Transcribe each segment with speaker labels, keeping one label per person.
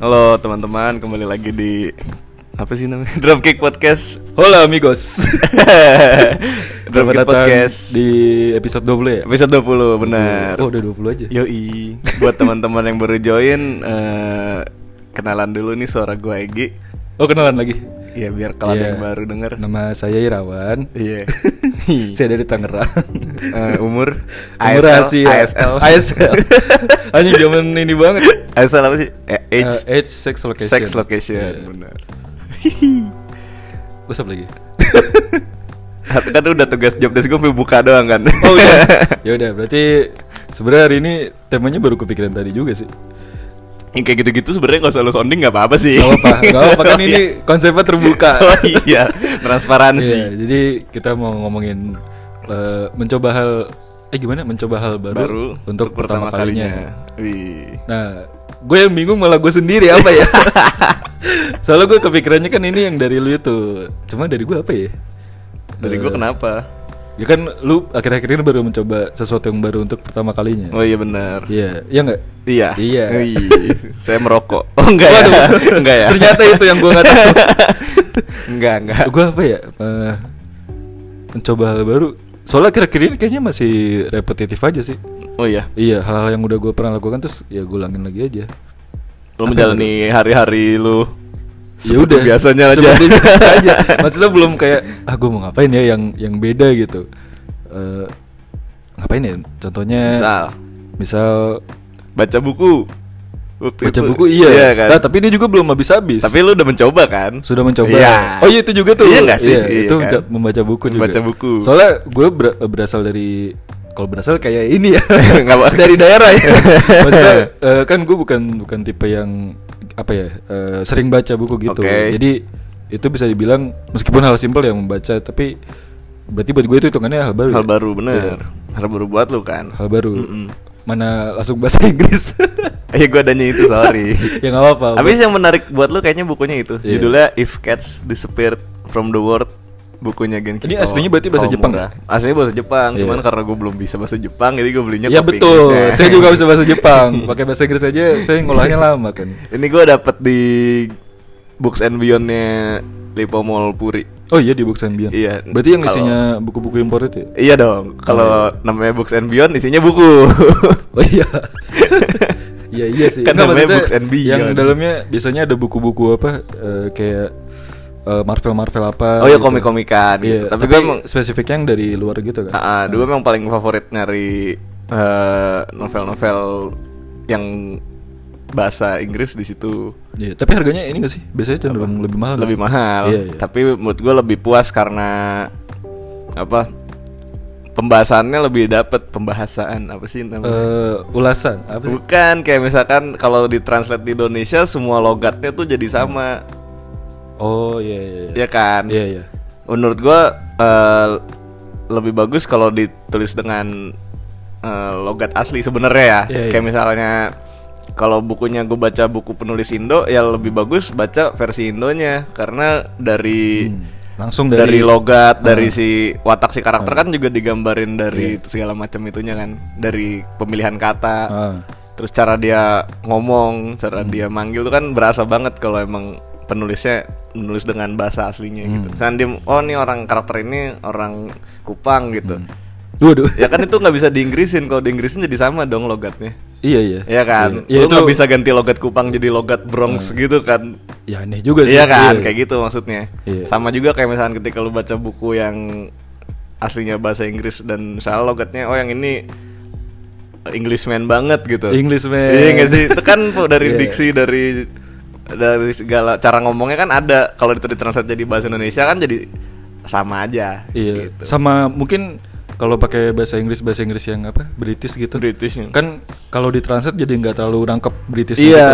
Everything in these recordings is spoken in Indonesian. Speaker 1: Halo teman-teman, kembali lagi di apa sih namanya? Dropkick Podcast. Hola amigos. Dropkick
Speaker 2: Selamat datang
Speaker 1: Podcast
Speaker 2: di episode 20 ya?
Speaker 1: episode 20, benar. Iya.
Speaker 2: Oh, udah 20 aja.
Speaker 1: Yoi. Buat teman-teman yang baru join eh, kenalan dulu nih suara gua Egi.
Speaker 2: Oh, kenalan lagi.
Speaker 1: Ya biar kalian
Speaker 2: Iya.
Speaker 1: yang baru denger.
Speaker 2: Nama saya Irawan.
Speaker 1: Iya.
Speaker 2: saya dari Tangerang.
Speaker 1: Eh, umur
Speaker 2: Umur rahasia.
Speaker 1: ASL.
Speaker 2: ASL. Anjing zaman ini banget.
Speaker 1: ASL apa sih? Eh, age,
Speaker 2: Eh, age, sex location.
Speaker 1: sex location,
Speaker 2: Iya.
Speaker 1: benar.
Speaker 2: Terus apa lagi?
Speaker 1: kan udah tugas job desk gue buka doang kan.
Speaker 2: Oh, udah. ya udah, berarti sebenarnya hari ini temanya baru kepikiran tadi juga sih.
Speaker 1: Yang kayak gitu-gitu sebenarnya nggak usah lo sounding nggak apa-apa sih.
Speaker 2: Gak apa-apa, gak apa-apa
Speaker 1: Iya.
Speaker 2: kan
Speaker 1: Oh,
Speaker 2: ini
Speaker 1: iya.
Speaker 2: konsepnya terbuka.
Speaker 1: Oh iya, transparansi.
Speaker 2: Iya, jadi kita mau ngomongin eh, mencoba hal eh gimana mencoba hal baru,
Speaker 1: Baru
Speaker 2: untuk pertama, kalinya.
Speaker 1: Wih.
Speaker 2: Nah, gue yang bingung malah gue sendiri apa ya? Soalnya gue kepikirannya kan ini yang dari lu itu. Cuma dari gue apa ya?
Speaker 1: Dari
Speaker 2: Eh,
Speaker 1: gue kenapa?
Speaker 2: Ya kan lu akhir-akhir ini baru mencoba sesuatu yang baru untuk pertama kalinya.
Speaker 1: Oh iya benar.
Speaker 2: Iya, iya enggak?
Speaker 1: Iya.
Speaker 2: Iya.
Speaker 1: Wih, Saya merokok. Oh enggak ya?
Speaker 2: Waduh,
Speaker 1: enggak ya?
Speaker 2: Ternyata itu yang gue nggak tahu.
Speaker 1: enggak, enggak.
Speaker 2: gue apa ya eh, mencoba hal baru soalnya kira-kira ini kayaknya masih repetitif aja sih
Speaker 1: Oh iya.
Speaker 2: iya hal-hal yang udah gue pernah lakukan terus ya gue ulangin lagi aja
Speaker 1: Lo menjalani hari-hari lu
Speaker 2: ya
Speaker 1: seperti
Speaker 2: udah
Speaker 1: biasanya aja.
Speaker 2: seperti biasa aja maksudnya belum kayak ah gue mau ngapain ya yang yang beda gitu Eh, ngapain ya contohnya
Speaker 1: Misal
Speaker 2: misal
Speaker 1: baca buku. Waktu
Speaker 2: baca
Speaker 1: itu.
Speaker 2: buku iya,
Speaker 1: kan.
Speaker 2: Nah, tapi ini juga belum habis-habis
Speaker 1: Tapi lu udah mencoba kan?
Speaker 2: Sudah mencoba.
Speaker 1: Iya.
Speaker 2: Oh iya itu juga tuh.
Speaker 1: Iya nggak sih? Iya,
Speaker 2: itu
Speaker 1: kan?
Speaker 2: menca- membaca buku juga.
Speaker 1: Membaca buku.
Speaker 2: Soalnya gue ber- berasal dari kalau berasal kayak ini ya.
Speaker 1: Nggak apa-
Speaker 2: dari daerah ya. Maksudnya eh, kan gue bukan bukan tipe yang apa ya eh, sering baca buku gitu.
Speaker 1: Oke.
Speaker 2: Jadi itu bisa dibilang meskipun hal simpel ya membaca tapi berarti buat gue itu hitungannya hal baru.
Speaker 1: Hal
Speaker 2: ya?
Speaker 1: baru
Speaker 2: Iya,
Speaker 1: bener. Hal baru buat lu kan.
Speaker 2: Hal baru.
Speaker 1: Mm-mm.
Speaker 2: Mana langsung bahasa Inggris.
Speaker 1: Eh gue adanya itu sorry.
Speaker 2: ya nggak apa-apa.
Speaker 1: Habis yang menarik buat lu kayaknya bukunya itu.
Speaker 2: Iya.
Speaker 1: Judulnya If Cats Disappeared from the World bukunya Genki.
Speaker 2: Ini
Speaker 1: Kawa-
Speaker 2: aslinya berarti bahasa Jepang
Speaker 1: Kawamura. Aslinya bahasa Jepang,
Speaker 2: Iya.
Speaker 1: cuman karena gue belum bisa bahasa Jepang jadi gue belinya
Speaker 2: Ya
Speaker 1: kopi
Speaker 2: betul.
Speaker 1: Inggrisnya.
Speaker 2: Saya juga bisa bahasa Jepang. Pakai bahasa Inggris aja saya ngolahnya lama kan.
Speaker 1: Ini gue dapet di Books and Beyond-nya Lipo Mall Puri.
Speaker 2: Oh iya di Books and Beyond.
Speaker 1: Iya.
Speaker 2: Berarti yang
Speaker 1: Kalau-
Speaker 2: isinya buku-buku impor itu ya?
Speaker 1: Iya dong, kalau namanya Books and Beyond isinya buku.
Speaker 2: Oh iya. Iya iya sih.
Speaker 1: Kan
Speaker 2: Enggak,
Speaker 1: namanya
Speaker 2: maksudnya
Speaker 1: Books and
Speaker 2: Yang
Speaker 1: Beyond.
Speaker 2: dalamnya biasanya ada buku-buku apa eh, kayak eh, Marvel-Marvel apa
Speaker 1: Oh iya,
Speaker 2: gitu.
Speaker 1: komik-komikan
Speaker 2: Iya,
Speaker 1: gitu. Tapi
Speaker 2: Tapi,
Speaker 1: gue emang-
Speaker 2: spesifiknya yang dari luar gitu kan.
Speaker 1: Ah, ah, dulu memang paling favorit nyari eh, novel-novel yang bahasa Inggris di situ
Speaker 2: Iya, tapi harganya ini gak sih? Biasanya cenderung lebih mahal. nggak
Speaker 1: lebih
Speaker 2: sih?
Speaker 1: mahal.
Speaker 2: Iya, iya.
Speaker 1: Tapi menurut gue lebih puas karena apa? Pembahasannya lebih dapet pembahasan apa sih namanya?
Speaker 2: Eh, ulasan apa sih?
Speaker 1: Bukan kayak misalkan kalau ditranslate di Indonesia semua logatnya tuh jadi sama,
Speaker 2: Oh iya iya.
Speaker 1: ya kan?
Speaker 2: Iya iya.
Speaker 1: Menurut gua eh, lebih bagus kalau ditulis dengan eh, logat asli sebenarnya ya.
Speaker 2: Iya, iya.
Speaker 1: Kayak misalnya kalau bukunya gue baca buku penulis Indo ya lebih bagus baca versi Indonya karena dari
Speaker 2: Hmm, Langsung
Speaker 1: dari,
Speaker 2: dari,
Speaker 1: logat,
Speaker 2: Hmm. Iya.
Speaker 1: dari si watak si karakter kan juga digambarin dari segala macam itunya kan, dari pemilihan kata.
Speaker 2: Ah.
Speaker 1: Terus cara dia ngomong, cara dia manggil tuh kan berasa banget kalau emang penulisnya menulis dengan bahasa aslinya gitu. Misalnya dia, oh nih orang karakter ini orang Kupang gitu.
Speaker 2: Waduh.
Speaker 1: Ya kan itu nggak bisa diinggrisin, kalau diinggrisin jadi sama dong logatnya.
Speaker 2: Iya iya.
Speaker 1: Iya kan? Lu
Speaker 2: Iya,
Speaker 1: nggak bisa ganti logat Kupang jadi logat Bronx gitu kan.
Speaker 2: Ya aneh juga sih.
Speaker 1: Iya kan, kayak gitu maksudnya.
Speaker 2: Iya.
Speaker 1: Sama juga kayak misalkan ketika lu baca buku yang aslinya bahasa Inggris dan misalnya logatnya oh yang ini Englishman banget gitu.
Speaker 2: Englishman.
Speaker 1: Iya nggak sih? Itu kan po- dari
Speaker 2: Iya.
Speaker 1: diksi dari dari segala cara ngomongnya kan ada. Kalau itu ditranslate jadi bahasa Indonesia kan jadi sama aja.
Speaker 2: Iya.
Speaker 1: Gitu.
Speaker 2: Sama mungkin kalau pakai bahasa Inggris bahasa Inggris yang apa British gitu.
Speaker 1: British kan.
Speaker 2: Kan kalau ditranslate jadi nggak terlalu nangkep British. gitu,
Speaker 1: Iya,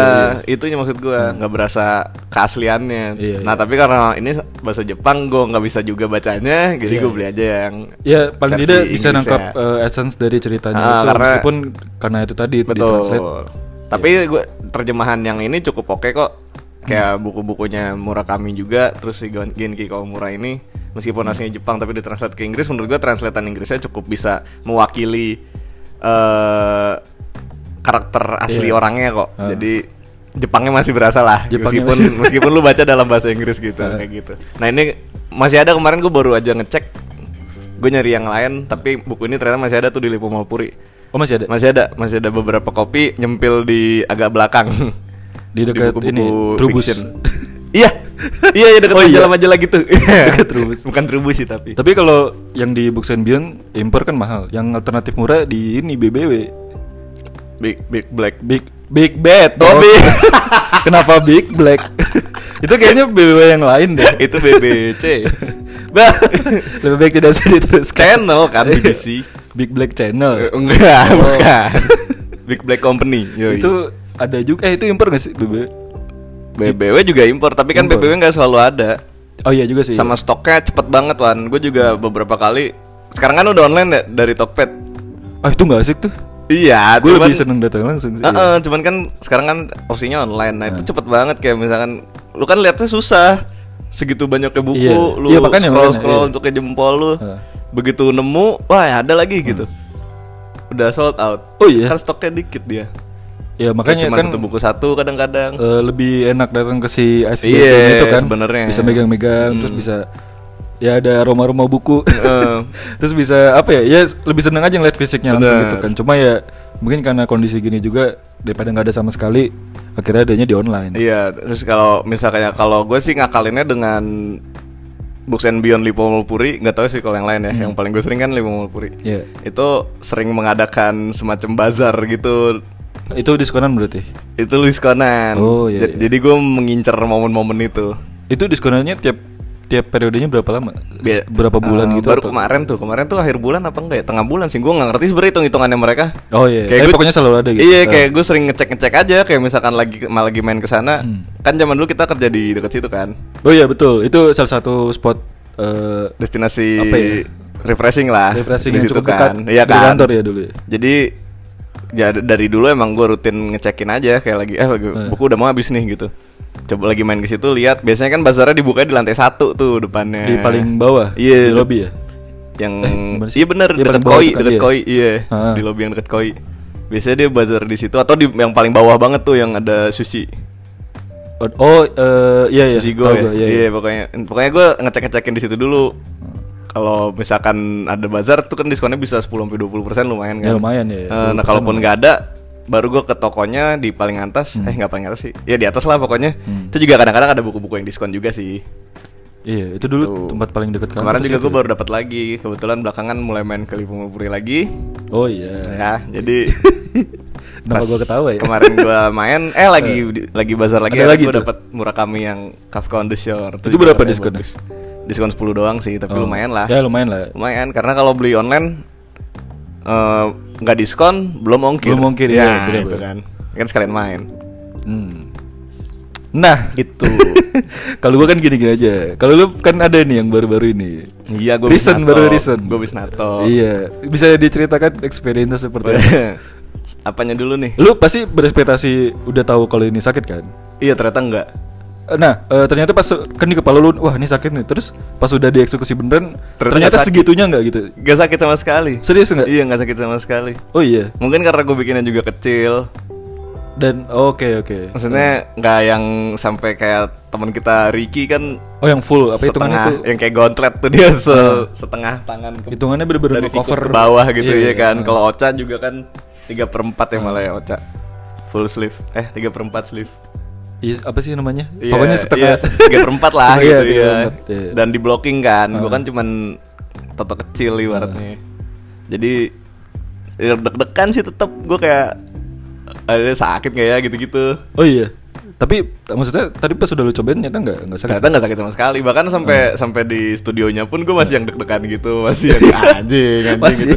Speaker 1: itunya maksud gua nggak berasa keasliannya.
Speaker 2: Hmm. Iya,
Speaker 1: nah
Speaker 2: iya.
Speaker 1: tapi karena ini bahasa Jepang gua nggak bisa juga bacanya, jadi
Speaker 2: Iya.
Speaker 1: gua beli aja yang
Speaker 2: Ya paling
Speaker 1: versi
Speaker 2: tidak bisa
Speaker 1: Inggrisnya.
Speaker 2: nangkap eh, essence dari ceritanya
Speaker 1: Ah,
Speaker 2: itu
Speaker 1: karena-
Speaker 2: meskipun karena itu tadi ditranslate.
Speaker 1: Betul. Tapi
Speaker 2: Iya.
Speaker 1: gue terjemahan yang ini cukup oke kok.
Speaker 2: Hmm.
Speaker 1: Kayak buku-bukunya Murakami juga, terus si Gon- Genki Kawamura ini meskipun
Speaker 2: Hmm.
Speaker 1: aslinya Jepang tapi ditranslate ke Inggris, menurut gue translatean Inggrisnya cukup bisa mewakili eh karakter asli orangnya kok.
Speaker 2: Ah.
Speaker 1: Jadi Jepangnya masih berasa lah
Speaker 2: Jepangnya
Speaker 1: meskipun
Speaker 2: masih- Hmm.
Speaker 1: meskipun lu baca dalam bahasa Inggris gitu
Speaker 2: Heeh.
Speaker 1: kayak gitu nah ini masih ada kemarin gue baru aja ngecek gue nyari yang lain tapi buku ini ternyata masih ada tuh di Lipo Malpuri
Speaker 2: Oh masih ada
Speaker 1: masih ada masih ada beberapa kopi nyempil di agak belakang
Speaker 2: di dekat
Speaker 1: buku-buku
Speaker 2: ini Trubus.
Speaker 1: fiction. iya iya iya dekat
Speaker 2: Oh, iya.
Speaker 1: majalah-majalah gitu
Speaker 2: Dekat Trubus.
Speaker 1: bukan Trubus sih tapi
Speaker 2: Tapi kalau yang di Books and Beyond impor kan mahal. Yang alternatif murah di ini BBW.
Speaker 1: big big black
Speaker 2: Big Big Bad.
Speaker 1: Oh,
Speaker 2: dong.
Speaker 1: Big.
Speaker 2: Kenapa Big Black? itu kayaknya BBW yang lain deh.
Speaker 1: itu BBC
Speaker 2: Bah, lebih baik tidak usah diteruskan.
Speaker 1: channel kan BBC
Speaker 2: Big Black
Speaker 1: Eh,
Speaker 2: Channel.
Speaker 1: enggak
Speaker 2: Oh.
Speaker 1: bukan big black company yoi.
Speaker 2: Itu ada juga eh itu impor gak sih BBW?
Speaker 1: BBW juga impor tapi kan
Speaker 2: Impor.
Speaker 1: BBW nggak selalu ada
Speaker 2: Oh iya juga sih.
Speaker 1: sama stoknya cepet banget wan gue juga beberapa kali sekarang kan udah online ya dari Tokped
Speaker 2: Ah itu gak asik tuh.
Speaker 1: iya
Speaker 2: Gue
Speaker 1: cuman-
Speaker 2: lebih seneng datang langsung sih.
Speaker 1: Heeh, cuman kan sekarang kan opsinya online. Nah, itu
Speaker 2: Nah.
Speaker 1: cepet banget kayak misalkan lu kan lihatnya susah. Segitu banyaknya buku,
Speaker 2: Iya.
Speaker 1: lu
Speaker 2: Iya, makanya,
Speaker 1: scroll
Speaker 2: makanya,
Speaker 1: scroll
Speaker 2: iya.
Speaker 1: untuk ke jempol lu.
Speaker 2: Heeh.
Speaker 1: Begitu nemu, wah ada lagi gitu. Udah sold out.
Speaker 2: Oh, iya?
Speaker 1: Kan stoknya dikit dia.
Speaker 2: Ya makanya
Speaker 1: cuma
Speaker 2: kan
Speaker 1: satu buku satu kadang-kadang.
Speaker 2: eh, lebih enak datang ke si Ice
Speaker 1: Iya,
Speaker 2: Bakery gitu kan.
Speaker 1: sebenarnya. Hmm.
Speaker 2: Bisa megang-megang terus bisa ya ada aroma-aroma buku.
Speaker 1: Heeh.
Speaker 2: terus bisa apa ya? Ya lebih seneng aja ngeliat fisiknya langsung
Speaker 1: Bener.
Speaker 2: gitu kan. Cuma ya mungkin karena kondisi gini juga daripada nggak ada sama sekali akhirnya adanya di online.
Speaker 1: Iya, terus kalau misalnya kalau gue sih ngakalinnya dengan Books and Beyond Lipo Mulpuri, nggak tahu sih kalau yang lain ya. Yang paling gue sering kan Lipo Mulpuri.
Speaker 2: Hmm. Iya.
Speaker 1: Itu sering mengadakan semacam bazar gitu
Speaker 2: Itu diskonan berarti.
Speaker 1: itu lu diskonan.
Speaker 2: Oh, iya,
Speaker 1: Ja-
Speaker 2: iya.
Speaker 1: Jadi gue mengincar momen-momen itu.
Speaker 2: Itu diskonannya tiap tiap periodenya berapa lama?
Speaker 1: Bi-
Speaker 2: berapa bulan
Speaker 1: Eh,
Speaker 2: gitu?
Speaker 1: Baru
Speaker 2: atau-
Speaker 1: kemarin tuh, kemarin tuh akhir bulan apa enggak ya? Tengah bulan sih, gue nggak ngerti sebenernya hitung hitungannya mereka.
Speaker 2: Oh iya, tapi
Speaker 1: gua-
Speaker 2: pokoknya selalu ada gitu.
Speaker 1: Iya,
Speaker 2: Ah.
Speaker 1: kayak gue sering ngecek-ngecek aja, kayak misalkan lagi malah lagi main ke sana.
Speaker 2: Hmm.
Speaker 1: Kan zaman dulu kita kerja di dekat situ kan.
Speaker 2: Oh iya betul. Itu salah satu spot eh
Speaker 1: Destinasi
Speaker 2: Apa ya?
Speaker 1: refreshing lah.
Speaker 2: refreshing
Speaker 1: di
Speaker 2: yang
Speaker 1: situ
Speaker 2: cukup dekat
Speaker 1: kan. Iya
Speaker 2: dari
Speaker 1: kan.
Speaker 2: kantor ya dulu ya.
Speaker 1: Jadi ya d- dari dulu emang gue rutin ngecekin aja kayak lagi eh lagi
Speaker 2: Eh.
Speaker 1: buku udah mau habis nih gitu. Coba lagi main ke situ lihat biasanya kan bazarnya dibukanya di lantai satu tuh depannya.
Speaker 2: Di paling bawah,
Speaker 1: Iya.
Speaker 2: di lobby ya.
Speaker 1: Yang
Speaker 2: gimana sih?
Speaker 1: iya bener
Speaker 2: Iya,
Speaker 1: dekat
Speaker 2: paling bawah
Speaker 1: koi
Speaker 2: itu kan,
Speaker 1: dekat
Speaker 2: iya.
Speaker 1: koi iya
Speaker 2: Ah.
Speaker 1: di lobby yang dekat koi. Biasanya dia bazar di situ atau di yang paling bawah banget tuh yang ada sushi.
Speaker 2: Oh, oh eh, iya iya.
Speaker 1: sushi go
Speaker 2: tahu
Speaker 1: ya.
Speaker 2: gua, iya,
Speaker 1: iya,
Speaker 2: iya.
Speaker 1: pokoknya pokoknya gue ngecek-ngecekin di situ dulu. Kalau misalkan ada bazar tuh kan diskonnya bisa 10 sampai 20% lumayan kan.
Speaker 2: Ya, lumayan, ya, ya.
Speaker 1: Eh, nah,
Speaker 2: 20%
Speaker 1: kalaupun nggak ada baru gue ke tokonya di paling atas, eh nggak paling atas sih. Ya di atas lah pokoknya.
Speaker 2: Hmm.
Speaker 1: Itu juga kadang-kadang ada buku-buku yang diskon juga sih.
Speaker 2: Iya, itu dulu
Speaker 1: Tuh.
Speaker 2: tempat paling dekat kantor.
Speaker 1: Kemarin juga
Speaker 2: sih
Speaker 1: gue
Speaker 2: itu. ya?
Speaker 1: baru dapat lagi. Kebetulan belakangan mulai main ke Lipo Mupuri lagi.
Speaker 2: Oh iya.
Speaker 1: Ya, jadi
Speaker 2: Kenapa
Speaker 1: pas
Speaker 2: gua ketawa ya?
Speaker 1: Kemarin gue main eh lagi di- lagi bazar lagi, ya,
Speaker 2: Ada lagi
Speaker 1: gue
Speaker 2: tuh?
Speaker 1: dapat Murakami yang Kafka on the Shore.
Speaker 2: Itu
Speaker 1: juga
Speaker 2: berapa
Speaker 1: katanya
Speaker 2: diskonnya?
Speaker 1: bagus. Diskon 10 doang sih, tapi
Speaker 2: Oh.
Speaker 1: lumayan lah.
Speaker 2: Ya lumayan lah.
Speaker 1: Lumayan karena kalau beli online eh, nggak diskon belum ongkir.
Speaker 2: Belum ongkir, iya,
Speaker 1: ya,
Speaker 2: bener-bener.
Speaker 1: itu kan. Kan sekalian main.
Speaker 2: Hmm. Nah,
Speaker 1: Gitu.
Speaker 2: kalau gua kan gini-gini aja. Kalau lu kan ada nih yang baru-baru ini.
Speaker 1: iya, gue
Speaker 2: Recent, baru recent.
Speaker 1: Gue Bisnato.
Speaker 2: Iya, bisa diceritakan experience seperti apa?
Speaker 1: Apanya dulu nih?
Speaker 2: Lu pasti berespektasi udah tahu kalau ini sakit kan?
Speaker 1: Iya, ternyata enggak.
Speaker 2: Eh, Nah, eh, ternyata pas kan di kepala lu, wah ini sakit nih. Terus pas udah dieksekusi beneran,
Speaker 1: Ternyata
Speaker 2: ternyata,
Speaker 1: sakit.
Speaker 2: segitunya nggak gitu.
Speaker 1: Gak sakit sama sekali.
Speaker 2: Serius nggak?
Speaker 1: Iya, nggak sakit sama sekali.
Speaker 2: Oh iya.
Speaker 1: Mungkin karena gue bikinnya juga kecil.
Speaker 2: Dan oke oke.
Speaker 1: Maksudnya nggak yang sampai kayak teman kita Ricky kan
Speaker 2: Oh yang full apa hitungannya
Speaker 1: setengah
Speaker 2: Ah.
Speaker 1: Iya.
Speaker 2: itu?
Speaker 1: yang kayak gauntlet tuh dia se- setengah tangan ke,
Speaker 2: Hitungannya bener-bener
Speaker 1: dari
Speaker 2: nge-cover.
Speaker 1: cover ke bawah gitu
Speaker 2: Iya,
Speaker 1: ya
Speaker 2: iya. Ah.
Speaker 1: kan. Kalau Ocha juga kan 3 per 4 ya malah ya Ocha. Full sleeve. Eh 3 per 4 sleeve.
Speaker 2: Iya, apa sih namanya?
Speaker 1: Iya,
Speaker 2: Pokoknya setengah
Speaker 1: iya, 3 per 4 lah
Speaker 2: Iya,
Speaker 1: gitu
Speaker 2: tiga
Speaker 1: ya.
Speaker 2: per empat, iya. Ah.
Speaker 1: Dan di blocking kan. Gue kan cuman toto kecil ibaratnya. Jadi ya deg-degan sih tetep gue kayak ada sakit kayak ya gitu-gitu.
Speaker 2: Oh iya. Tapi t- maksudnya tadi pas udah lu cobain ternyata nggak nggak sakit.
Speaker 1: ternyata nggak sakit sama sekali bahkan
Speaker 2: Hmm.
Speaker 1: sampai sampai di studionya pun gue masih yang deg-degan gitu masih yang anjing anjing gitu
Speaker 2: Masih.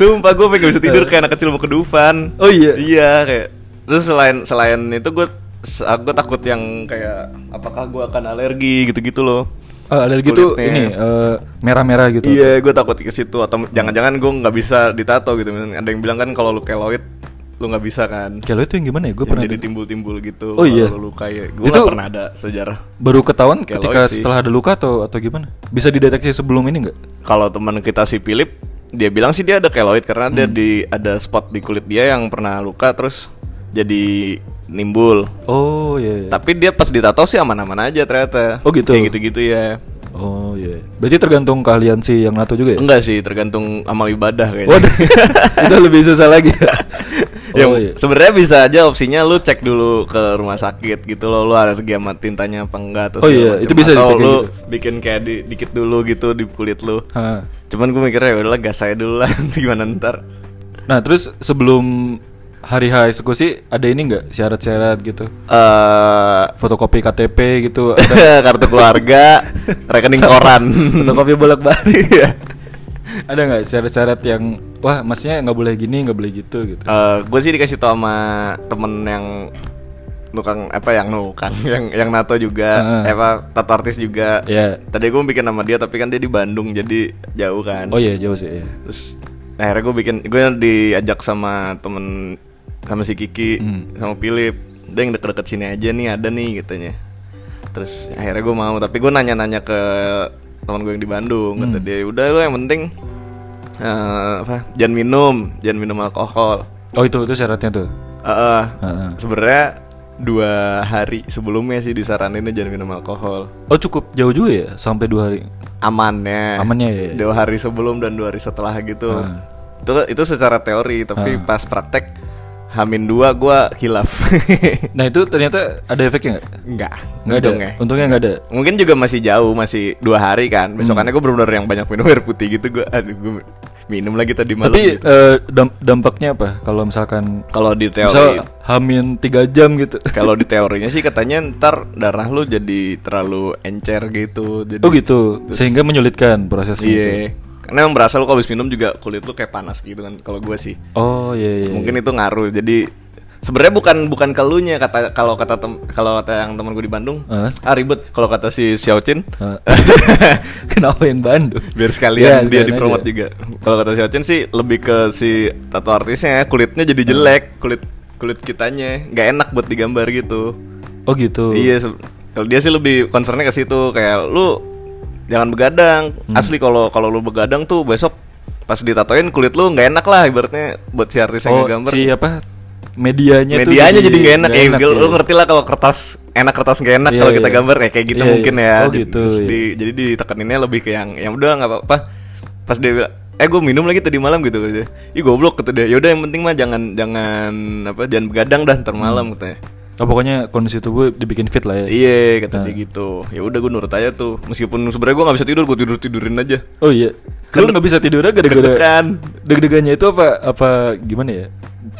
Speaker 1: sumpah gue pengen nggak bisa tidur kayak anak kecil mau kedufan
Speaker 2: Oh iya.
Speaker 1: iya kayak terus selain selain itu gue gue takut yang kayak apakah gue akan alergi gitu-gitu loh
Speaker 2: Eh, alergi tuh
Speaker 1: Kulitnya.
Speaker 2: ini eh, merah-merah gitu.
Speaker 1: iya gue takut ke situ atau jangan-jangan gue nggak bisa ditato gitu misalnya ada yang bilang kan kalau lu keloid lu nggak bisa kan
Speaker 2: Kalau itu yang gimana ya?
Speaker 1: Yang
Speaker 2: Gue pernah
Speaker 1: jadi
Speaker 2: dengar.
Speaker 1: timbul-timbul gitu
Speaker 2: Oh iya.
Speaker 1: kalau luka ya gue
Speaker 2: Itu-
Speaker 1: nggak pernah ada sejarah
Speaker 2: baru ketahuan
Speaker 1: Keloid
Speaker 2: ketika
Speaker 1: sih.
Speaker 2: setelah ada luka atau atau gimana? Bisa dideteksi sebelum ini nggak?
Speaker 1: kalau teman kita si Philip dia bilang sih
Speaker 2: Hmm.
Speaker 1: dia ada keloid karena dia di ada spot di kulit dia yang pernah luka terus jadi nimbul.
Speaker 2: Oh iya. iya.
Speaker 1: Tapi dia pas ditato sih aman-aman aja ternyata.
Speaker 2: Oh, gitu.
Speaker 1: Kayak gitu-gitu ya.
Speaker 2: Oh iya. Berarti tergantung keahlian si yang nato juga ya?
Speaker 1: Enggak sih, tergantung amal ibadah kayaknya.
Speaker 2: Waduh. itu lebih susah lagi.
Speaker 1: Ya,
Speaker 2: oh, iya.
Speaker 1: sebenarnya bisa aja opsinya lu cek dulu ke rumah sakit gitu loh, lu alergi sama tintanya apa enggak atau
Speaker 2: Oh, iya,
Speaker 1: segala
Speaker 2: itu
Speaker 1: macem.
Speaker 2: bisa
Speaker 1: atau
Speaker 2: dicek kayak
Speaker 1: lu
Speaker 2: gitu.
Speaker 1: bikin kayak di- dikit dulu gitu di kulit lu.
Speaker 2: Ha.
Speaker 1: Cuman gue mikirnya ya udahlah gas saya dulu lah nanti gimana ntar.
Speaker 2: Nah terus sebelum hari H eksekusi ada ini nggak syarat-syarat gitu?
Speaker 1: Eh
Speaker 2: Fotokopi KTP gitu? Ada
Speaker 1: kartu keluarga, rekening koran.
Speaker 2: fotokopi bolak-balik?
Speaker 1: Iya.
Speaker 2: ada nggak syarat-syarat yang wah masnya nggak boleh gini nggak boleh gitu gitu?
Speaker 1: Eh, gue sih dikasih tau sama temen yang tukang apa yang nukang yang yang nato juga
Speaker 2: Heeh.
Speaker 1: apa tato artis juga
Speaker 2: Iya.
Speaker 1: tadi gue bikin nama dia tapi kan dia di Bandung jadi jauh kan
Speaker 2: Oh iya jauh sih. Iya.
Speaker 1: terus akhirnya gue bikin gue diajak sama temen sama si Kiki
Speaker 2: Hmm.
Speaker 1: sama Philip dia yang deket-deket sini aja nih ada nih katanya terus akhirnya gue mau tapi gue nanya-nanya ke teman gue yang di Bandung kata dia udah lo yang penting eh, apa jangan minum jangan minum alkohol
Speaker 2: Oh itu itu syaratnya tuh.
Speaker 1: Eh, eh,
Speaker 2: Heeh.
Speaker 1: sebenarnya dua hari sebelumnya sih disaraninnya jangan minum alkohol
Speaker 2: Oh cukup jauh juga ya sampai dua hari.
Speaker 1: amannya iya,
Speaker 2: Amannya ya.
Speaker 1: dua hari sebelum dan dua hari setelah gitu
Speaker 2: Ah.
Speaker 1: itu itu secara teori tapi
Speaker 2: Ah.
Speaker 1: pas praktek hamin dua gua hilaf
Speaker 2: Nah itu ternyata ada efeknya nggak?
Speaker 1: enggak
Speaker 2: Nggak ada.
Speaker 1: untungnya.
Speaker 2: Untungnya nggak ada.
Speaker 1: mungkin juga masih jauh masih dua hari kan besokannya gua bener-bener yang banyak minum air putih gitu gua aduh gua minum lagi tadi malam
Speaker 2: Tapi
Speaker 1: gitu.
Speaker 2: eh, dam- dampaknya apa kalau misalkan
Speaker 1: kalau di teori
Speaker 2: misal hamin tiga jam gitu?
Speaker 1: kalau di teorinya sih katanya ntar darah lu jadi terlalu encer gitu jadi
Speaker 2: Oh gitu, sehingga menyulitkan prosesnya. itu.
Speaker 1: iya karena emang berasa lu kalau habis minum juga kulit lu kayak panas gitu kan kalau gua sih
Speaker 2: Oh iya iya.
Speaker 1: mungkin itu ngaruh jadi sebenarnya bukan bukan kelunya kata kalau kata tem- kalau kata yang temen gue di Bandung
Speaker 2: Hah?
Speaker 1: ah ribet kalau kata si Xiaochin
Speaker 2: Hah? Kenapa yang Bandung?
Speaker 1: biar
Speaker 2: Ya,
Speaker 1: sekalian dia
Speaker 2: sekalian
Speaker 1: dipromot
Speaker 2: aja.
Speaker 1: juga kalau kata Xiaochin sih lebih ke si tato artisnya ya, kulitnya jadi jelek kulit kulit kitanya nggak enak buat digambar gitu
Speaker 2: Oh gitu.
Speaker 1: iya se- kalau dia sih lebih concernnya ke situ kayak lu jangan begadang
Speaker 2: Hmm.
Speaker 1: asli kalau kalau lu begadang tuh besok pas ditatoin kulit lu nggak enak lah ibaratnya buat si artis yang
Speaker 2: Oh
Speaker 1: ngegambar
Speaker 2: si apa? Medianya, tuh
Speaker 1: medianya jadi nggak enak,
Speaker 2: nggak
Speaker 1: ya Gil, lu
Speaker 2: ya.
Speaker 1: ngerti lah kalau kertas enak kertas nggak enak
Speaker 2: Iya,
Speaker 1: kalau kita
Speaker 2: iya.
Speaker 1: gambar ya kayak gitu
Speaker 2: Iya,
Speaker 1: mungkin
Speaker 2: iya.
Speaker 1: ya
Speaker 2: Oh,
Speaker 1: Jadi-
Speaker 2: gitu,
Speaker 1: terus
Speaker 2: iya.
Speaker 1: di- jadi ditekaninnya lebih ke yang yang udah nggak apa-apa pas dia bilang eh gue minum lagi tadi malam gitu katanya ih goblok kata dia yaudah yang penting mah jangan jangan apa jangan begadang dah ntar malam katanya
Speaker 2: Oh, pokoknya kondisi tubuh dibikin fit lah ya.
Speaker 1: iya kata dia gitu ya udah gue nurut aja tuh meskipun sebenarnya gue nggak bisa tidur gue tidur tidurin aja
Speaker 2: Oh iya. Lu nggak bisa tidur aja gara-gara
Speaker 1: kan
Speaker 2: deg-degannya itu apa apa gimana ya?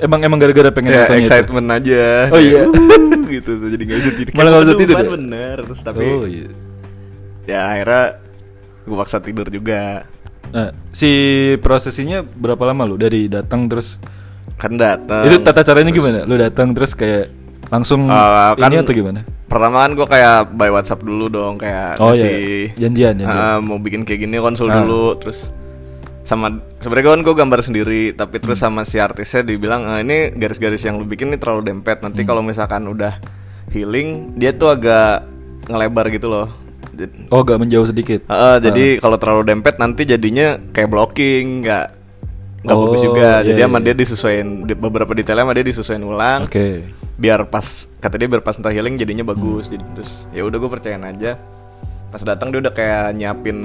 Speaker 2: Emang emang gara-gara pengen
Speaker 1: ya
Speaker 2: nontonnya itu?
Speaker 1: excitement aja
Speaker 2: Oh, iya.
Speaker 1: Kayak, "Wuh," gitu tuh jadi nggak bisa tidur
Speaker 2: Malah nggak bisa
Speaker 1: Aduh,
Speaker 2: tidur
Speaker 1: Pan,
Speaker 2: ya?
Speaker 1: bener terus tapi
Speaker 2: Oh iya.
Speaker 1: ya akhirnya gue paksa tidur juga
Speaker 2: Nah, si prosesinya berapa lama lu dari datang terus
Speaker 1: kan datang
Speaker 2: itu tata caranya gimana? Lu datang terus kayak langsung
Speaker 1: Eh, kan-
Speaker 2: ini atau gimana?
Speaker 1: pertama kan gue kayak by WhatsApp dulu dong kayak
Speaker 2: Oh,
Speaker 1: kasih
Speaker 2: iya. Janjian, janjian.
Speaker 1: "Ah, mau bikin kayak gini konsul
Speaker 2: Ah.
Speaker 1: dulu terus sama sebenarnya kan gue gambar sendiri tapi terus
Speaker 2: Hmm.
Speaker 1: sama si artisnya dibilang "Eh, ini garis-garis yang lu bikin ini terlalu dempet
Speaker 2: Hmm.
Speaker 1: nanti kalau misalkan udah healing dia tuh agak ngelebar gitu loh Jadi-
Speaker 2: Oh, gak menjauh sedikit.
Speaker 1: Heeh, Ah, jadi kalau terlalu dempet nanti jadinya kayak blocking, nggak nggak bagus
Speaker 2: Oh,
Speaker 1: juga.
Speaker 2: iya,
Speaker 1: Jadi
Speaker 2: iya.
Speaker 1: sama dia disesuaikan beberapa detailnya sama dia disesuaikan ulang.
Speaker 2: Ah, Oke. Hmm.
Speaker 1: Biar pas kata dia biar pas ntar healing jadinya bagus. Jadi terus ya udah gue percayain aja. Pas datang dia udah kayak nyiapin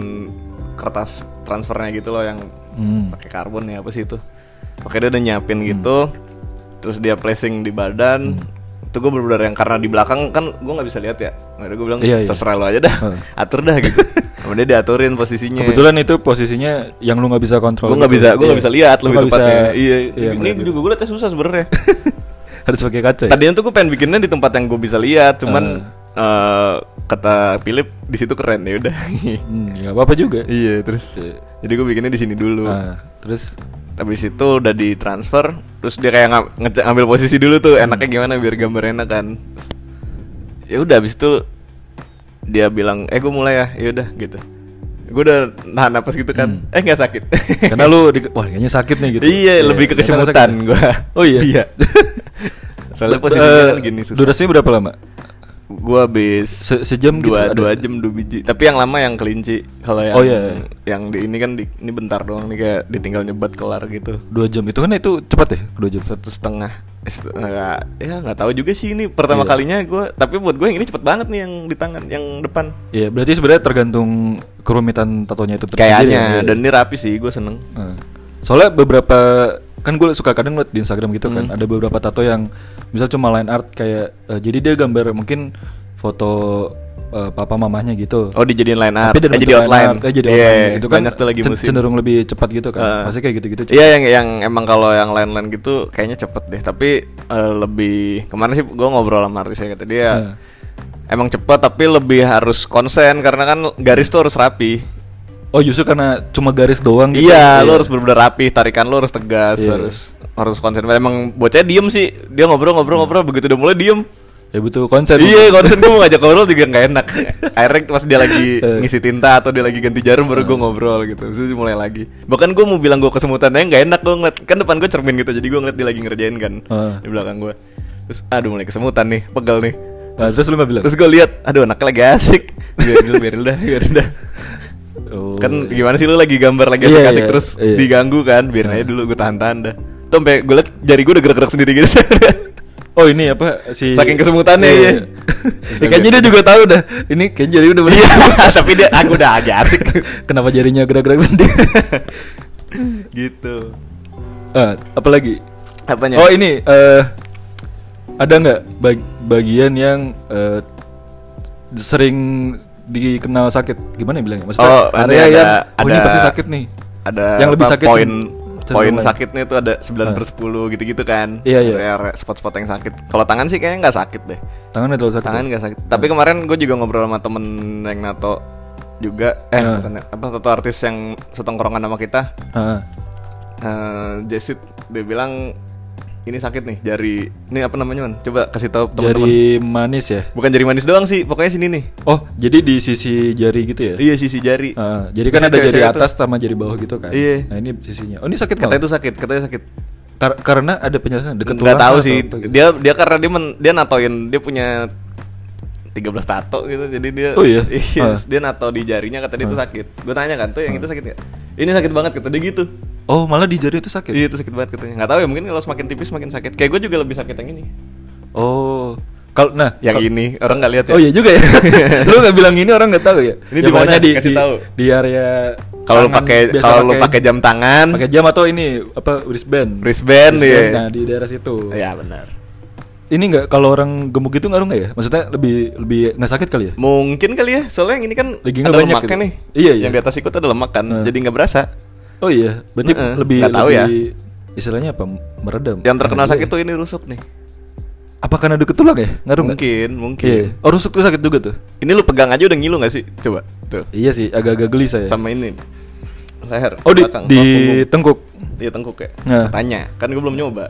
Speaker 1: kertas transfernya gitu loh yang
Speaker 2: Hmm.
Speaker 1: pakai karbon ya apa sih itu. Oke dia udah nyiapin gitu. Terus dia placing di badan.
Speaker 2: Hmm.
Speaker 1: Itu gue bener yang karena di belakang kan gue nggak bisa lihat ya. Akhirnya gue bilang
Speaker 2: Iya, iya.
Speaker 1: terserah lo aja dah.
Speaker 2: Heeh.
Speaker 1: Atur dah gitu. Kemudian diaturin posisinya.
Speaker 2: Kebetulan itu posisinya yang lu nggak bisa kontrol.
Speaker 1: gue nggak
Speaker 2: gitu.
Speaker 1: bisa gue nggak
Speaker 2: Iya.
Speaker 1: bisa lihat lebih
Speaker 2: Lu nggak bisa-
Speaker 1: tepatnya. Iya. ini
Speaker 2: ngeliat gitu.
Speaker 1: juga gue liatnya susah sebenarnya.
Speaker 2: harus pakai kaca. ya?
Speaker 1: Tadinya tuh gue pengen bikinnya di tempat yang gue bisa lihat,
Speaker 2: Hmm.
Speaker 1: cuman eh, kata Philip di situ keren ya udah.
Speaker 2: Hmm, ya apa-apa juga.
Speaker 1: iya, terus jadi gue bikinnya di sini dulu.
Speaker 2: Nah, terus
Speaker 1: Habis itu udah ditransfer, terus dia kayak nga- nge- ngambil posisi dulu tuh, enaknya gimana biar gambar enak kan. Ya udah habis itu dia bilang, "Eh, gue mulai ya." Ya udah gitu. Gue udah nahan napas gitu kan. Eh, nggak sakit.
Speaker 2: Hmm. karena lu di, wah kayaknya sakit nih gitu.
Speaker 1: Iya, lebih ke
Speaker 2: ternyata
Speaker 1: kesemutan
Speaker 2: sakit.
Speaker 1: gua.
Speaker 2: Oh iya.
Speaker 1: Soalnya posisinya
Speaker 2: Eh,
Speaker 1: kan gini susah.
Speaker 2: Durasinya berapa lama?
Speaker 1: gua habis
Speaker 2: Se- sejam gitu
Speaker 1: dua
Speaker 2: ada-
Speaker 1: dua jam dua biji tapi yang lama yang kelinci kalau yang
Speaker 2: Oh, iya, iya.
Speaker 1: yang di ini kan di, ini bentar doang nih kayak ditinggal nyebat kelar gitu
Speaker 2: dua jam itu kan itu cepat ya dua jam
Speaker 1: satu setengah eh, set- nggak- ya nggak tahu juga sih ini pertama
Speaker 2: Iya.
Speaker 1: kalinya gua tapi buat gue yang ini cepet banget nih yang di tangan yang depan
Speaker 2: Iya, berarti sebenarnya tergantung kerumitan tatonya itu tersendiri ya,
Speaker 1: kayaknya
Speaker 2: iya.
Speaker 1: dan ini rapi sih gue seneng
Speaker 2: Heeh. Soalnya beberapa kan gue suka kadang liat di Instagram gitu kan
Speaker 1: Hmm.
Speaker 2: ada beberapa tato yang misal cuma line art kayak eh, jadi dia gambar mungkin foto eh, papa mamahnya gitu.
Speaker 1: oh dijadiin line art
Speaker 2: Tapi dalam
Speaker 1: eh, jadi
Speaker 2: bentuk line
Speaker 1: outline
Speaker 2: art, eh, jadi
Speaker 1: Iya,
Speaker 2: outline. Itu kan
Speaker 1: banyak tuh lagi
Speaker 2: cen-
Speaker 1: musim
Speaker 2: cenderung lebih cepat gitu kan.
Speaker 1: Heeh.
Speaker 2: Pasti kayak gitu-gitu.
Speaker 1: Iya yang yang emang kalau yang lain-lain gitu kayaknya cepet deh. Tapi eh, lebih kemarin sih gue ngobrol sama artisnya kata dia
Speaker 2: Iya.
Speaker 1: emang cepet tapi lebih harus konsen karena kan garis tuh harus rapi.
Speaker 2: Oh justru karena cuma garis doang gitu.
Speaker 1: Iya, lo harus benar-benar rapi, tarikan lo harus tegas,
Speaker 2: Iya.
Speaker 1: harus harus konsen. Emang bocah diem sih, dia ngobrol-ngobrol-ngobrol begitu udah mulai diem.
Speaker 2: Ya butuh konsen.
Speaker 1: Iya, konsen gue mau ngajak ngobrol juga nggak enak. Akhirnya pas dia lagi
Speaker 2: Eh.
Speaker 1: ngisi tinta atau dia lagi ganti jarum baru gue ngobrol gitu. Terus dia mulai lagi. Bahkan gue mau bilang gue kesemutan aja nggak enak gue ngeliat. Kan depan gue cermin gitu, jadi gue ngeliat dia lagi ngerjain kan
Speaker 2: Heeh.
Speaker 1: di belakang gue. Terus aduh mulai kesemutan nih, pegel nih.
Speaker 2: Nah, terus lu mah bilang.
Speaker 1: Terus gue lihat, aduh anaknya lagi asik. Biarin dulu, biarin dah, biarin dah.
Speaker 2: Oh,
Speaker 1: Kan gimana sih lu lagi gambar lagi
Speaker 2: Iya,
Speaker 1: asik
Speaker 2: iya,
Speaker 1: terus
Speaker 2: iya.
Speaker 1: diganggu kan? Biarin aja dulu gue tahan-tahan dah. Tuh sampai gue liat jari gue udah gerak-gerak sendiri gitu.
Speaker 2: Oh ini apa si
Speaker 1: Saking kesemutannya,
Speaker 2: Iya.
Speaker 1: iya.
Speaker 2: Ya, kayaknya dia juga tahu dah. Ini kayaknya jari udah bener.
Speaker 1: Iya, tapi dia aku udah agak asik.
Speaker 2: Kenapa jarinya gerak-gerak sendiri?
Speaker 1: gitu.
Speaker 2: Ah, apalagi?
Speaker 1: Apanya?
Speaker 2: Oh ini eh ada nggak bag- bagian yang eh, sering dikenal sakit? Gimana ya bilangnya? Maksudnya
Speaker 1: Oh, nanti
Speaker 2: area
Speaker 1: ada-
Speaker 2: yang oh ini
Speaker 1: ada-
Speaker 2: pasti sakit nih.
Speaker 1: ada
Speaker 2: yang lebih
Speaker 1: apa,
Speaker 2: sakit
Speaker 1: poin
Speaker 2: cen-
Speaker 1: poin
Speaker 2: cenderung.
Speaker 1: sakitnya itu ada 9 per 10 gitu-gitu kan.
Speaker 2: Iya, iya.
Speaker 1: Area-area Spot-spot yang sakit. Kalau tangan sih kayaknya nggak sakit deh.
Speaker 2: Tangan ada sakit. ya?
Speaker 1: Tangan nggak sakit. Tapi
Speaker 2: Hmm.
Speaker 1: kemarin gue juga ngobrol sama temen yang nato juga eh
Speaker 2: Ah.
Speaker 1: bukan, apa satu artis yang setongkrongan sama kita
Speaker 2: Ah,
Speaker 1: eh Jessit dia bilang ini sakit nih jari ini apa namanya man coba kasih tahu teman-teman
Speaker 2: jari manis ya.
Speaker 1: bukan jari manis doang sih pokoknya sini nih
Speaker 2: Oh, jadi di sisi jari gitu ya?
Speaker 1: iya sisi jari
Speaker 2: Ah, jadi
Speaker 1: Biasanya
Speaker 2: kan ada jari
Speaker 1: cewek-cewek tuh.
Speaker 2: atas sama jari bawah gitu kan.
Speaker 1: Iya.
Speaker 2: Nah, ini sisinya. Oh, ini sakit
Speaker 1: Katanya
Speaker 2: banget.
Speaker 1: itu sakit, katanya sakit.
Speaker 2: Kar- karena ada penjelasan deket
Speaker 1: Nggak
Speaker 2: tulang
Speaker 1: tahu
Speaker 2: atau
Speaker 1: sih.
Speaker 2: apa gitu.
Speaker 1: Dia dia karena dia men, dia natoin, dia punya 13 tato gitu. Jadi dia
Speaker 2: Oh iya?
Speaker 1: terus
Speaker 2: Ah.
Speaker 1: dia nato di jarinya kata dia itu sakit. Gue tanya kan, "Tuh yang itu sakit nggak? Ini sakit banget kata dia gitu.
Speaker 2: Oh, malah di jari itu sakit.
Speaker 1: Iya, itu sakit banget katanya. Nggak tahu ya, mungkin kalau semakin tipis makin sakit. Kayak gue juga lebih sakit yang ini.
Speaker 2: Oh. Kalau nah,
Speaker 1: Yang
Speaker 2: kal-
Speaker 1: ini orang nggak lihat ya.
Speaker 2: Oh iya juga ya. Lu nggak bilang ini orang nggak tahu ya.
Speaker 1: Ini
Speaker 2: Ya,
Speaker 1: di mana?
Speaker 2: pokoknya Di,
Speaker 1: Kasih
Speaker 2: di-
Speaker 1: tahu.
Speaker 2: Di area
Speaker 1: Kalau lu
Speaker 2: tangan,
Speaker 1: pakai
Speaker 2: biasa
Speaker 1: kalau lu pakai jam tangan,
Speaker 2: pakai jam atau ini apa wristband?
Speaker 1: Wristband, iya.
Speaker 2: Nah, di daerah situ.
Speaker 1: ya benar.
Speaker 2: Ini nggak kalau orang gemuk gitu ngaruh nggak ya? Maksudnya lebih lebih nggak sakit kali ya?
Speaker 1: Mungkin kali ya, soalnya yang ini kan
Speaker 2: Lagi nggak
Speaker 1: ada
Speaker 2: banyak
Speaker 1: lemaknya
Speaker 2: gitu.
Speaker 1: nih.
Speaker 2: Iya, iya.
Speaker 1: Yang di atas ikut ada lemak kan,
Speaker 2: Eh.
Speaker 1: jadi nggak berasa.
Speaker 2: Oh iya, berarti
Speaker 1: Heeh,
Speaker 2: lebih
Speaker 1: nggak tahu ya.
Speaker 2: lebih- istilahnya apa? Meredam.
Speaker 1: Yang terkena
Speaker 2: Nah, iya.
Speaker 1: sakit tuh ini rusuk nih.
Speaker 2: Apa karena deket tulang ya? Ngaruh nggak?
Speaker 1: Mungkin, mungkin.
Speaker 2: Iya. Oh rusuk tuh sakit juga tuh.
Speaker 1: Ini lu pegang aja udah ngilu gak sih? Coba tuh.
Speaker 2: Iya sih, agak-agak gelisah ya.
Speaker 1: Sama ini. Leher
Speaker 2: oh di,
Speaker 1: belakang,
Speaker 2: di
Speaker 1: sama punggung.
Speaker 2: tengkuk.
Speaker 1: Iya, tengkuk ya.
Speaker 2: Nah.
Speaker 1: Katanya, kan gue belum nyoba.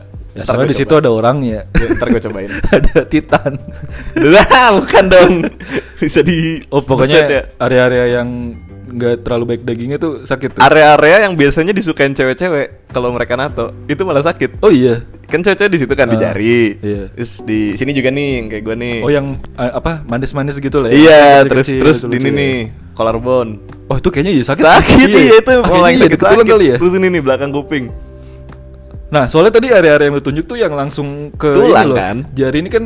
Speaker 1: Ntar
Speaker 2: Ya, soalnya
Speaker 1: gua
Speaker 2: di situ
Speaker 1: coba.
Speaker 2: ada orangnya.
Speaker 1: Ya, ntar gua cobain.
Speaker 2: ada Titan.
Speaker 1: Lah, bukan dong. Bisa di
Speaker 2: Oh
Speaker 1: set ya.
Speaker 2: pokoknya area-area yang nggak terlalu baik dagingnya tuh sakit tuh.
Speaker 1: area-area yang biasanya disukain cewek-cewek kalau mereka nato itu malah sakit.
Speaker 2: oh iya.
Speaker 1: Kan cewek-cewek di situ kan di
Speaker 2: Ah,
Speaker 1: jari.
Speaker 2: iya.
Speaker 1: Terus di sini juga nih yang kayak gue nih.
Speaker 2: Oh yang eh, apa manis-manis gitu lah. ya.
Speaker 1: Iya,
Speaker 2: Kecil-kecil,
Speaker 1: terus terus di
Speaker 2: lucu-lucu
Speaker 1: ini
Speaker 2: ya.
Speaker 1: nih collarbone.
Speaker 2: Oh itu kayaknya iya sakit.
Speaker 1: sakit iya itu
Speaker 2: Akhirnya
Speaker 1: malah yang
Speaker 2: iya,
Speaker 1: sakit,
Speaker 2: deket tulang
Speaker 1: sakit.
Speaker 2: kali ya.
Speaker 1: terus ini nih belakang kuping
Speaker 2: Nah soalnya tadi area-area yang lu tunjuk tuh yang langsung ke ini
Speaker 1: Tulang
Speaker 2: loh.
Speaker 1: kan?
Speaker 2: Jari ini kan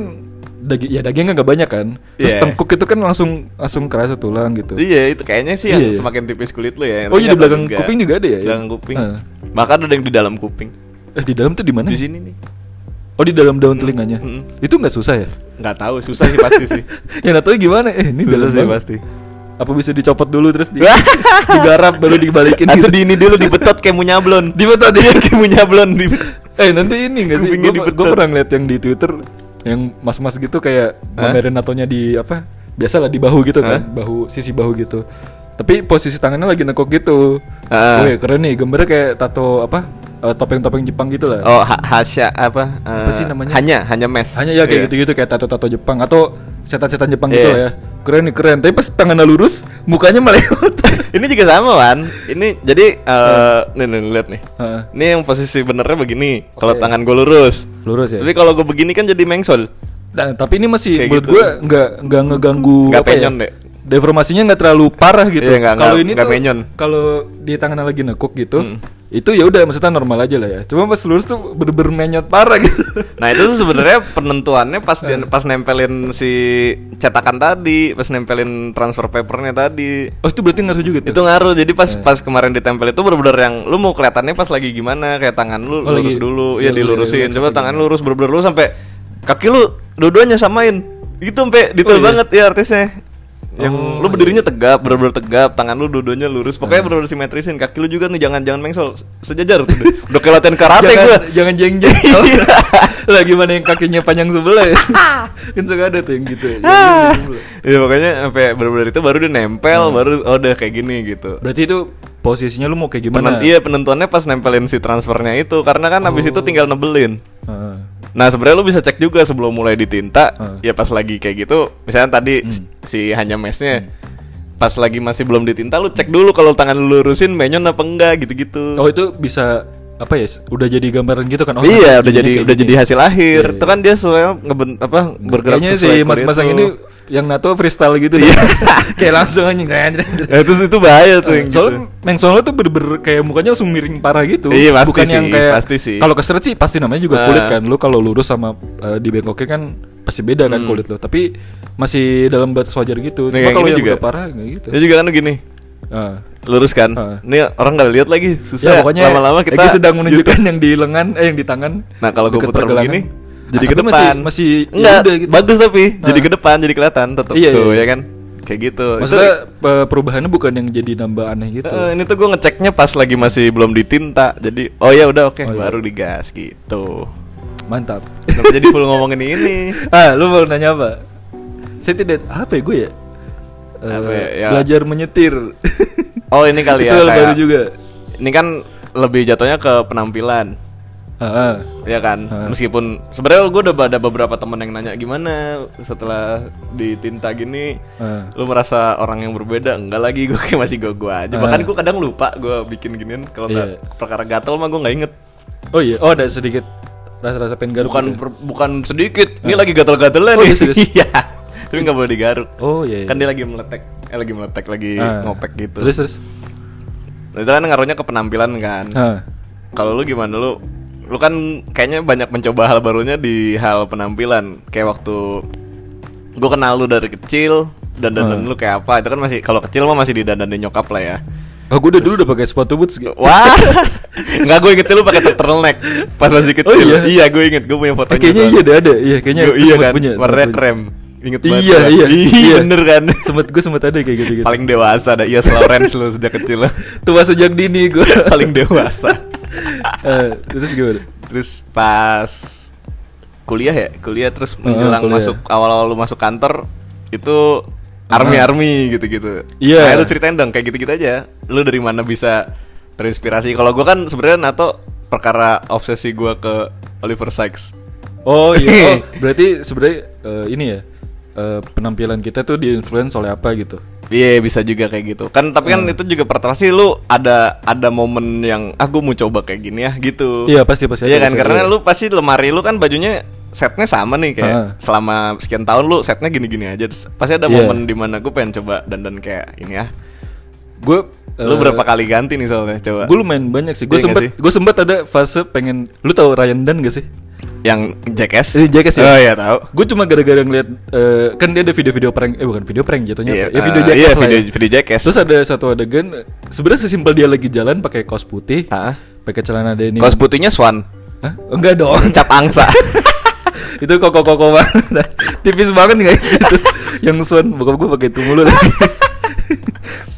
Speaker 2: daging ya dagingnya nggak banyak kan. Terus
Speaker 1: Iya.
Speaker 2: tengkuk itu kan langsung langsung kerasa tulang gitu.
Speaker 1: iya itu kayaknya sih yang
Speaker 2: Iya, iya.
Speaker 1: semakin tipis kulit lo ya
Speaker 2: Oh,
Speaker 1: Ternyata
Speaker 2: iya, di belakang
Speaker 1: enggak.
Speaker 2: kuping juga ada ya?
Speaker 1: belakang kuping
Speaker 2: Heeh.
Speaker 1: bahkan ada yang di dalam kuping
Speaker 2: Eh di dalam tuh di mana?
Speaker 1: di sini nih
Speaker 2: Oh di dalam daun telinganya.
Speaker 1: Mm-mm.
Speaker 2: Itu nggak susah ya?
Speaker 1: nggak tahu susah sih pasti sih
Speaker 2: yang nggak tahu gimana? Eh ini
Speaker 1: susah
Speaker 2: dalam
Speaker 1: sih
Speaker 2: banget.
Speaker 1: pasti
Speaker 2: Apa bisa dicopot dulu terus di, digarap baru dibalikin
Speaker 1: atau
Speaker 2: gitu?
Speaker 1: di ini dulu dibetot kayak munyablon dibetot iya. dia kayak munyablon di
Speaker 2: Eh nanti ini nggak sih?
Speaker 1: Kupingnya
Speaker 2: Gue
Speaker 1: dibetot.
Speaker 2: pernah ngeliat yang di Twitter yang mas-mas gitu kayak
Speaker 1: Hah?
Speaker 2: pamerin natonya di apa? Biasalah di bahu gitu
Speaker 1: Hah?
Speaker 2: kan, bahu sisi bahu gitu. Tapi posisi tangannya lagi nekuk gitu.
Speaker 1: Ah.
Speaker 2: Wih keren nih, gambarnya kayak tato apa? eh, topeng-topeng Jepang gitu lah.
Speaker 1: oh ha- hasya apa eh,
Speaker 2: Apa sih namanya?
Speaker 1: hanya hanya mes
Speaker 2: Hanya ya kayak
Speaker 1: Iya.
Speaker 2: gitu-gitu kayak tato-tato Jepang atau setan-setan Jepang
Speaker 1: Iya.
Speaker 2: gitu lah ya. Keren nih keren. Tapi pas tangannya lurus, mukanya melewat.
Speaker 1: ini juga sama wan ini jadi eh nih nih lihat nih
Speaker 2: Heeh.
Speaker 1: ini yang posisi benernya begini kalau
Speaker 2: Oke.
Speaker 1: tangan gue lurus
Speaker 2: lurus ya.
Speaker 1: Tapi kalau gue begini kan jadi mengsol.
Speaker 2: Nah, tapi ini masih
Speaker 1: Kayak
Speaker 2: menurut
Speaker 1: gitu.
Speaker 2: gue nggak nggak ngeganggu
Speaker 1: Nggak
Speaker 2: apa ya,
Speaker 1: penyon deh.
Speaker 2: Deformasinya nggak terlalu parah gitu.
Speaker 1: Iya, nggak-
Speaker 2: kalau
Speaker 1: nggak-
Speaker 2: ini
Speaker 1: nggak
Speaker 2: tuh
Speaker 1: penyon.
Speaker 2: kalau di tangan lagi nekuk gitu,
Speaker 1: Hmm.
Speaker 2: itu ya udah maksudnya normal aja lah ya. Cuma pas lurus tuh bener-bener menyot parah gitu.
Speaker 1: Nah itu tuh sebenarnya penentuannya pas dia, pas nempelin si cetakan tadi, pas nempelin transfer papernya tadi.
Speaker 2: Oh itu berarti ngaruh juga tuh.
Speaker 1: Itu ngaruh. Jadi
Speaker 2: Iya.
Speaker 1: pas pas kemarin ditempel itu bener-bener yang lu mau kelihatannya pas lagi gimana kayak tangan lu
Speaker 2: Oh,
Speaker 1: lurus
Speaker 2: lagi-
Speaker 1: dulu,
Speaker 2: iya,
Speaker 1: ya
Speaker 2: lurus,
Speaker 1: dilurusin.
Speaker 2: lurus,
Speaker 1: Coba
Speaker 2: lurus.
Speaker 1: tangan lurus bener-bener lurus sampai kaki lu dua-duanya samain. Gitu sampai detail
Speaker 2: Oh, iya.
Speaker 1: banget ya artisnya. Yang
Speaker 2: Oh, Nah.
Speaker 1: lu berdirinya tegap, bener-bener tegap, tangan lu dua-duanya lurus. Pokoknya bener-bener simetrisin. Kaki lu juga nih jangan-jangan mengsel sejajar tuh. Udah kayak latihan karate
Speaker 2: jangan, Iya,
Speaker 1: gua. Iya.
Speaker 2: jangan jeng jeng. lah gimana yang kakinya panjang sebelah ya? kan suka ada tuh yang gitu.
Speaker 1: Ah.
Speaker 2: Ya. Jangan jeng-jeng sebelah.
Speaker 1: Iya makanya sampai benar-benar itu baru dia nempel,
Speaker 2: Hmm.
Speaker 1: baru oh udah kayak gini gitu.
Speaker 2: Berarti itu posisinya lu mau kayak gimana? Oh.
Speaker 1: Penen- iya penentuannya pas nempelin si transfernya itu karena kan habis itu tinggal nebelin.
Speaker 2: Heeh.
Speaker 1: Nah sebenarnya lu bisa cek juga sebelum mulai ditinta,
Speaker 2: Hmm.
Speaker 1: ya pas lagi kayak gitu, misalnya tadi si- si hanya
Speaker 2: Hmm.
Speaker 1: mesnya, pas lagi masih belum ditinta lu cek dulu kalau tangan lu lurusin menyon apa enggak gitu-gitu.
Speaker 2: Oh itu bisa apa ya? Udah jadi gambaran gitu kan? Oh,
Speaker 1: iya udah
Speaker 2: jadinya
Speaker 1: jadi
Speaker 2: kayak
Speaker 1: udah
Speaker 2: gini.
Speaker 1: jadi hasil akhir.
Speaker 2: Iya, iya.
Speaker 1: Itu kan dia sesuai ngeben apa bergerak
Speaker 2: Kayaknya si
Speaker 1: sesuai
Speaker 2: mas
Speaker 1: kode
Speaker 2: mas yang
Speaker 1: itu.
Speaker 2: ini yang nato freestyle gitu deh. kayak langsung anjing kayak anjing.
Speaker 1: Ya, terus itu bahaya tuh yang gitu.
Speaker 2: Eh, Soalnya Meng Solo tuh bener-bener kayak mukanya langsung miring parah gitu.
Speaker 1: Iya, pasti
Speaker 2: Bukan
Speaker 1: sih,
Speaker 2: yang kayak
Speaker 1: pasti sih.
Speaker 2: Kalau keseret sih pasti namanya juga kulit
Speaker 1: Ah.
Speaker 2: kan. Lu kalau lurus sama eh, dibengkokin kan pasti beda kan
Speaker 1: Hmm.
Speaker 2: kulit lo. Tapi masih dalam batas wajar gitu.
Speaker 1: Nah,
Speaker 2: Cuma
Speaker 1: kayak
Speaker 2: kalau
Speaker 1: gini
Speaker 2: yang
Speaker 1: juga.
Speaker 2: udah parah nggak gitu.
Speaker 1: Dia juga kan gini.
Speaker 2: Ah.
Speaker 1: lurus kan
Speaker 2: Heeh.
Speaker 1: ini orang nggak lihat lagi susah
Speaker 2: ya pokoknya
Speaker 1: lama-lama kita
Speaker 2: Egy sedang menunjukkan yang di lengan eh yang di tangan.
Speaker 1: nah kalau gue
Speaker 2: Deket
Speaker 1: putar
Speaker 2: pergelangan.
Speaker 1: begini
Speaker 2: Ah,
Speaker 1: jadi ke
Speaker 2: tapi
Speaker 1: depan
Speaker 2: Masih, masih
Speaker 1: enggak
Speaker 2: ya udah gitu.
Speaker 1: bagus tapi jadi
Speaker 2: Ah.
Speaker 1: ke depan jadi kelihatan tetap
Speaker 2: Iya,
Speaker 1: tuh
Speaker 2: iya.
Speaker 1: ya kan kayak gitu Itu-
Speaker 2: Maksudnya pe- perubahannya bukan yang jadi nambah aneh gitu.
Speaker 1: Eh, ini tuh gue ngeceknya pas lagi masih belum ditinta jadi oh ya udah oke
Speaker 2: Oh, iya.
Speaker 1: baru digas gitu
Speaker 2: Mantap.
Speaker 1: kenapa jadi full ngomongin ini
Speaker 2: ah, lu mau nanya apa? Saya tidak apa ya gue ya? Eh,
Speaker 1: Apa ya, ya.
Speaker 2: Belajar menyetir.
Speaker 1: oh ini kali ya
Speaker 2: Itu hal
Speaker 1: kayak-
Speaker 2: baru juga.
Speaker 1: ini kan lebih jatuhnya ke penampilan
Speaker 2: Ah, ah.
Speaker 1: ya kan
Speaker 2: Heeh.
Speaker 1: meskipun sebenarnya gue udah ada beberapa temen yang nanya gimana setelah ditinta gini
Speaker 2: Ah.
Speaker 1: lu merasa orang yang berbeda enggak lagi gue kayak masih gue gue aja bahkan
Speaker 2: Ah.
Speaker 1: gue kadang lupa gue bikin ginian kalau nggak
Speaker 2: Iya.
Speaker 1: perkara gatel mah gue nggak inget
Speaker 2: Oh iya, oh ada sedikit rasa-rasa pengen garuk.
Speaker 1: bukan
Speaker 2: gitu ya?
Speaker 1: per- bukan sedikit ini lagi gatel-gatelnya
Speaker 2: Oh,
Speaker 1: nih
Speaker 2: iya, serius?
Speaker 1: iya tapi nggak boleh digaruk
Speaker 2: Oh iya. iya.
Speaker 1: kan dia lagi meletek eh lagi meletek lagi
Speaker 2: Ah.
Speaker 1: ngopek gitu
Speaker 2: Terus terus.
Speaker 1: Nah, itu kan ngaruhnya ke penampilan kan
Speaker 2: Ah.
Speaker 1: Kalau lu gimana lu? Lu kan kayaknya banyak mencoba hal barunya di hal penampilan. Kayak waktu gue kenal lu dari kecil dan dandan
Speaker 2: Hmm.
Speaker 1: lu kayak apa? Itu kan masih kalau kecil mah masih didandanin nyokap lah ya.
Speaker 2: Oh, gue udah dulu udah pakai sepatu boots gitu.
Speaker 1: Wah, nggak gue inget lu pakai turtleneck pas masih kecil.
Speaker 2: Oh, iya?
Speaker 1: gue inget, gue punya
Speaker 2: Eh,
Speaker 1: fotonya.
Speaker 2: kayaknya iya
Speaker 1: soalnya.
Speaker 2: ada ada. Iya, kayaknya
Speaker 1: Gua-
Speaker 2: aku
Speaker 1: iya
Speaker 2: sempat
Speaker 1: kan,
Speaker 2: punya, sempat
Speaker 1: warna
Speaker 2: punya.
Speaker 1: rem. Inget banget.
Speaker 2: Iya,
Speaker 1: gua.
Speaker 2: iya.
Speaker 1: iya, bener kan.
Speaker 2: Sempat gue sempat ada kayak gitu-gitu.
Speaker 1: Paling dewasa ada Iya Lawrence lu sejak kecil.
Speaker 2: tua sejak dini gue.
Speaker 1: Paling dewasa.
Speaker 2: Eh, terus gimana?
Speaker 1: Terus pas kuliah ya, kuliah terus
Speaker 2: Heeh,
Speaker 1: menjelang
Speaker 2: kuliah.
Speaker 1: masuk awal-awal lu masuk kantor itu army army gitu-gitu.
Speaker 2: Iya.
Speaker 1: Nah, itu ceritain dong kayak gitu-gitu aja. Lu dari mana bisa terinspirasi? Kalau gua kan sebenarnya Nato perkara obsesi gua ke Oliver Sykes.
Speaker 2: Oh iya, oh, berarti sebenarnya eh, ini ya eh, penampilan kita tuh diinfluence oleh apa gitu?
Speaker 1: Iya bisa juga kayak gitu kan tapi kan itu juga pertama sih lu ada ada momen yang aku mau coba kayak gini ya gitu
Speaker 2: Iya, pasti, pasti
Speaker 1: iya
Speaker 2: ada,
Speaker 1: kan
Speaker 2: pasti
Speaker 1: karena
Speaker 2: ada.
Speaker 1: lu pasti lemari lu kan bajunya setnya sama nih kayak
Speaker 2: Heeh.
Speaker 1: selama sekian tahun lu setnya gini-gini aja Terus pasti ada
Speaker 2: Iya.
Speaker 1: momen dimana gue pengen coba dandan kayak ini ya
Speaker 2: Gue
Speaker 1: lu berapa kali ganti nih soalnya coba
Speaker 2: Gue eh, lumayan banyak sih.
Speaker 1: Iya
Speaker 2: Gue
Speaker 1: nggak
Speaker 2: sempet
Speaker 1: sih?
Speaker 2: gue sempet ada fase pengen. Lu tahu Ryan Dunn gak sih?
Speaker 1: yang jackass
Speaker 2: Ini Jackass ya?
Speaker 1: oh iya tahu
Speaker 2: Gue cuma gara-gara ngeliat eh, kan dia ada video-video prank, eh bukan video prank jatuhnya, apa? ya video
Speaker 1: eh,
Speaker 2: jackass
Speaker 1: iya,
Speaker 2: lah
Speaker 1: video,
Speaker 2: ya.
Speaker 1: video jackass
Speaker 2: Terus ada satu adegan, sebenarnya sesimpel dia lagi jalan pakai kaos putih,
Speaker 1: Hah?
Speaker 2: pakai celana denim.
Speaker 1: kaos putihnya swan
Speaker 2: Hah? Enggak dong.
Speaker 1: cap angsa
Speaker 2: itu koko koko banget tipis banget nggak sih itu yang Swan bokap gue pakai itu mulu lagi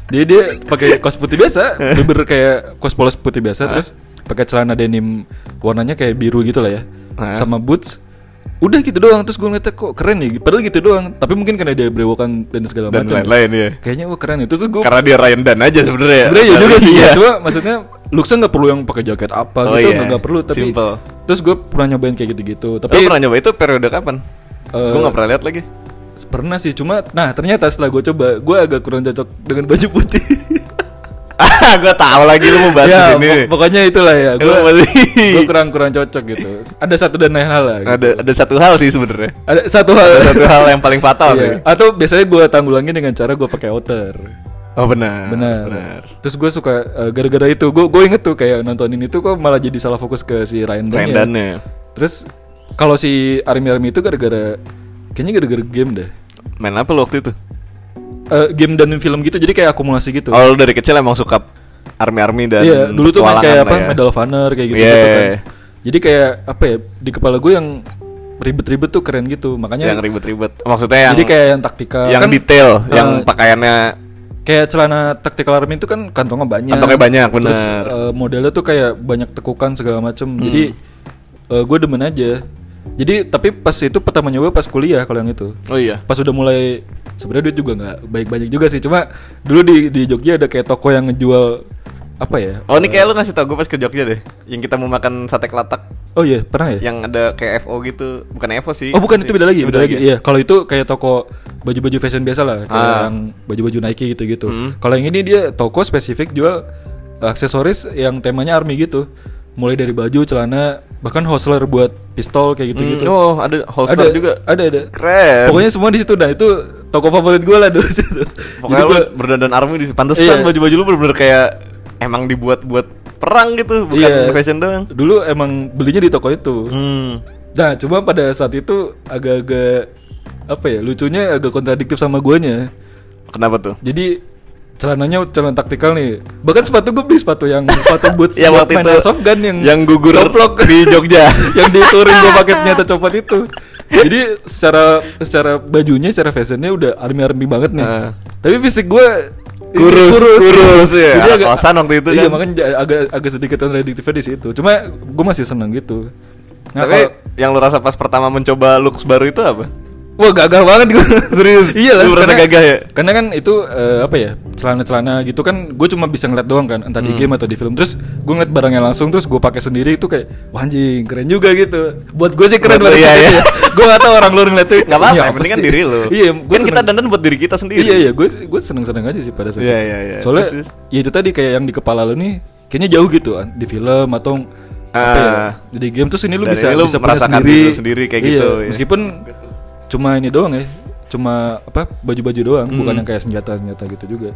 Speaker 2: dia dia pakai kaos putih biasa bener kayak kaos polos putih biasa terus pakai celana denim warnanya kayak biru gitu lah ya
Speaker 1: Hah?
Speaker 2: sama boots udah gitu doang terus gue ngeliatnya kok keren nih padahal gitu doang tapi mungkin karena dia berewokan dan segala
Speaker 1: dan
Speaker 2: macam
Speaker 1: lain-lain ya
Speaker 2: kayaknya wah keren itu tuh gue
Speaker 1: karena dia Ryan Dan aja sebenarnya
Speaker 2: sebenarnya ya juga sih
Speaker 1: Iya.
Speaker 2: cuma maksudnya looksnya nggak perlu yang pakai jaket apa
Speaker 1: Oh
Speaker 2: gitu
Speaker 1: iya,
Speaker 2: nggak perlu tapi
Speaker 1: simple.
Speaker 2: terus gue pernah nyobain kayak gitu-gitu tapi
Speaker 1: Lo pernah nyoba itu periode kapan?
Speaker 2: Eh,
Speaker 1: gue gak pernah lihat lagi.
Speaker 2: Pernah sih, cuma nah ternyata setelah gue coba, gue agak kurang cocok dengan baju putih.
Speaker 1: ah gue tahu lagi lu mau bahas
Speaker 2: ya,
Speaker 1: ini
Speaker 2: pok- pokoknya itulah ya.
Speaker 1: Lu
Speaker 2: Gue
Speaker 1: masih-
Speaker 2: kurang kurang cocok gitu. Ada satu dan lain hal lah. gitu.
Speaker 1: ada ada satu hal sih sebenarnya
Speaker 2: Ada satu hal.
Speaker 1: ada satu hal yang paling fatal
Speaker 2: Iya.
Speaker 1: sih
Speaker 2: Atau biasanya gue tanggulangi dengan cara gue pakai outer.
Speaker 1: oh benar
Speaker 2: Benar. Terus gue suka eh, gara-gara itu gue gue inget tuh kayak nontonin itu kok malah jadi salah fokus ke si Ryan Dunn. ya.
Speaker 1: Randannya
Speaker 2: Terus kalau si Army Army itu gara-gara kayaknya gara-gara game deh.
Speaker 1: main apa lu waktu itu
Speaker 2: Eh, game dan film gitu jadi kayak akumulasi gitu.
Speaker 1: oh lu dari kecil emang suka army army dan
Speaker 2: Iya, dulu tuh main
Speaker 1: petualangan
Speaker 2: kayak
Speaker 1: lah
Speaker 2: apa
Speaker 1: ya.
Speaker 2: Medal of Honor kayak gitu,
Speaker 1: Iya.
Speaker 2: kan. Jadi kayak apa ya di kepala gue yang ribet-ribet tuh keren gitu. Makanya
Speaker 1: yang ribet-ribet maksudnya yang
Speaker 2: jadi kayak yang taktikal
Speaker 1: yang
Speaker 2: kan,
Speaker 1: detail yang
Speaker 2: eh,
Speaker 1: pakaiannya
Speaker 2: kayak celana tactical army itu kan kantongnya banyak.
Speaker 1: Kantongnya banyak,
Speaker 2: Terus,
Speaker 1: bener. Hmm.
Speaker 2: eh, modelnya tuh kayak banyak tekukan segala macem. Jadi eh, gue demen aja. Jadi tapi pas itu pertama nyoba pas kuliah kalau yang itu.
Speaker 1: oh iya
Speaker 2: Pas udah mulai sebenarnya duit juga nggak baik banyak juga sih. Cuma dulu di di Jogja ada kayak toko yang ngejual apa ya?
Speaker 1: Oh ini kayak lu ngasih tau gue pas ke Jogja deh Yang kita mau makan sate kelatak
Speaker 2: Oh iya pernah ya?
Speaker 1: Yang ada kayak FO gitu Bukan FO sih
Speaker 2: Oh bukan itu beda lagi, beda lagi.
Speaker 1: ya?
Speaker 2: Iya, kalau itu kayak toko baju-baju fashion biasa lah, kayak
Speaker 1: Ah.
Speaker 2: yang baju-baju Nike gitu-gitu.
Speaker 1: Hmm.
Speaker 2: Kalau yang ini dia toko spesifik jual aksesoris yang temanya army gitu. Mulai dari baju, celana, bahkan hostler buat pistol kayak gitu-gitu.
Speaker 1: Hmm, Oh ada holster
Speaker 2: Gitu, Ada,
Speaker 1: juga
Speaker 2: ada, ada.
Speaker 1: Keren
Speaker 2: Pokoknya semua di situ dan itu toko favorit gue lah dulu situ.
Speaker 1: Pokoknya
Speaker 2: Jadi
Speaker 1: lu
Speaker 2: gua-
Speaker 1: berdandan army di
Speaker 2: Iya.
Speaker 1: Pantesan baju-baju lu bener-bener kayak Emang dibuat buat perang gitu Bukan
Speaker 2: iya,
Speaker 1: fashion doang
Speaker 2: Dulu emang belinya di toko itu.
Speaker 1: Hmm
Speaker 2: Nah, cuma pada saat itu agak-agak apa ya? Lucunya agak kontradiktif sama guanya.
Speaker 1: Kenapa tuh?
Speaker 2: Jadi celananya celana taktikal nih. Bahkan sepatu gue beli sepatu yang sepatu boots
Speaker 1: Yang Ya,
Speaker 2: buat
Speaker 1: waktu
Speaker 2: main
Speaker 1: itu
Speaker 2: airsoft gun yang
Speaker 1: yang gugur
Speaker 2: coplok
Speaker 1: di Jogja.
Speaker 2: yang di touring gue pakai ternyata copot itu. Jadi secara secara bajunya, secara fashionnya udah army-army banget nih.
Speaker 1: Heeh.
Speaker 2: Tapi fisik gue
Speaker 1: Ah. Kurus, kurus, iya.
Speaker 2: Jadi
Speaker 1: Anak kosan waktu itu
Speaker 2: Iya,
Speaker 1: kan.
Speaker 2: makanya ja- agak agak sedikit kontradiktifnya di situ. Cuma gue masih seneng gitu. Nah,
Speaker 1: Tapi
Speaker 2: kalau-
Speaker 1: yang lu rasa pas pertama mencoba looks baru itu apa?
Speaker 2: Wah gagah banget gue
Speaker 1: Serius?
Speaker 2: Iya lah
Speaker 1: Lu merasa
Speaker 2: karena-
Speaker 1: gagah ya?
Speaker 2: Karena kan itu eh, apa ya Celana-celana gitu kan Gue cuma bisa ngeliat doang kan Entah di
Speaker 1: Hmm.
Speaker 2: game atau di film Terus gue ngeliat barangnya langsung Terus gue pakai sendiri itu kayak Wah anjing keren juga gitu Buat gue sih gitu ya. keren
Speaker 1: Buat lu,
Speaker 2: banget
Speaker 1: iya, iya.
Speaker 2: Gue gak tau orang luar ngeliatnya
Speaker 1: Gak
Speaker 2: "Ini
Speaker 1: apa-apa, yang
Speaker 2: apa
Speaker 1: penting kan
Speaker 2: sih?"
Speaker 1: diri lu
Speaker 2: Iya gua
Speaker 1: Kan kita
Speaker 2: seneng-
Speaker 1: dandan buat diri kita sendiri
Speaker 2: Iya iya gue gue seneng-seneng aja sih pada saat
Speaker 1: Iya,
Speaker 2: itu.
Speaker 1: iya, iya.
Speaker 2: Soalnya
Speaker 1: Persis.
Speaker 2: ya itu tadi kayak yang di kepala lu nih Kayaknya jauh gitu kan Di film atau apa ya,
Speaker 1: Ah.
Speaker 2: Di game terus ini lu
Speaker 1: Dan
Speaker 2: bisa,
Speaker 1: ini lu
Speaker 2: bisa punya
Speaker 1: merasakan diri lu sendiri kayak
Speaker 2: Iya,
Speaker 1: gitu, ya.
Speaker 2: Meskipun cuma ini doang ya Cuma apa baju-baju doang Bukan yang kayak senjata-senjata gitu juga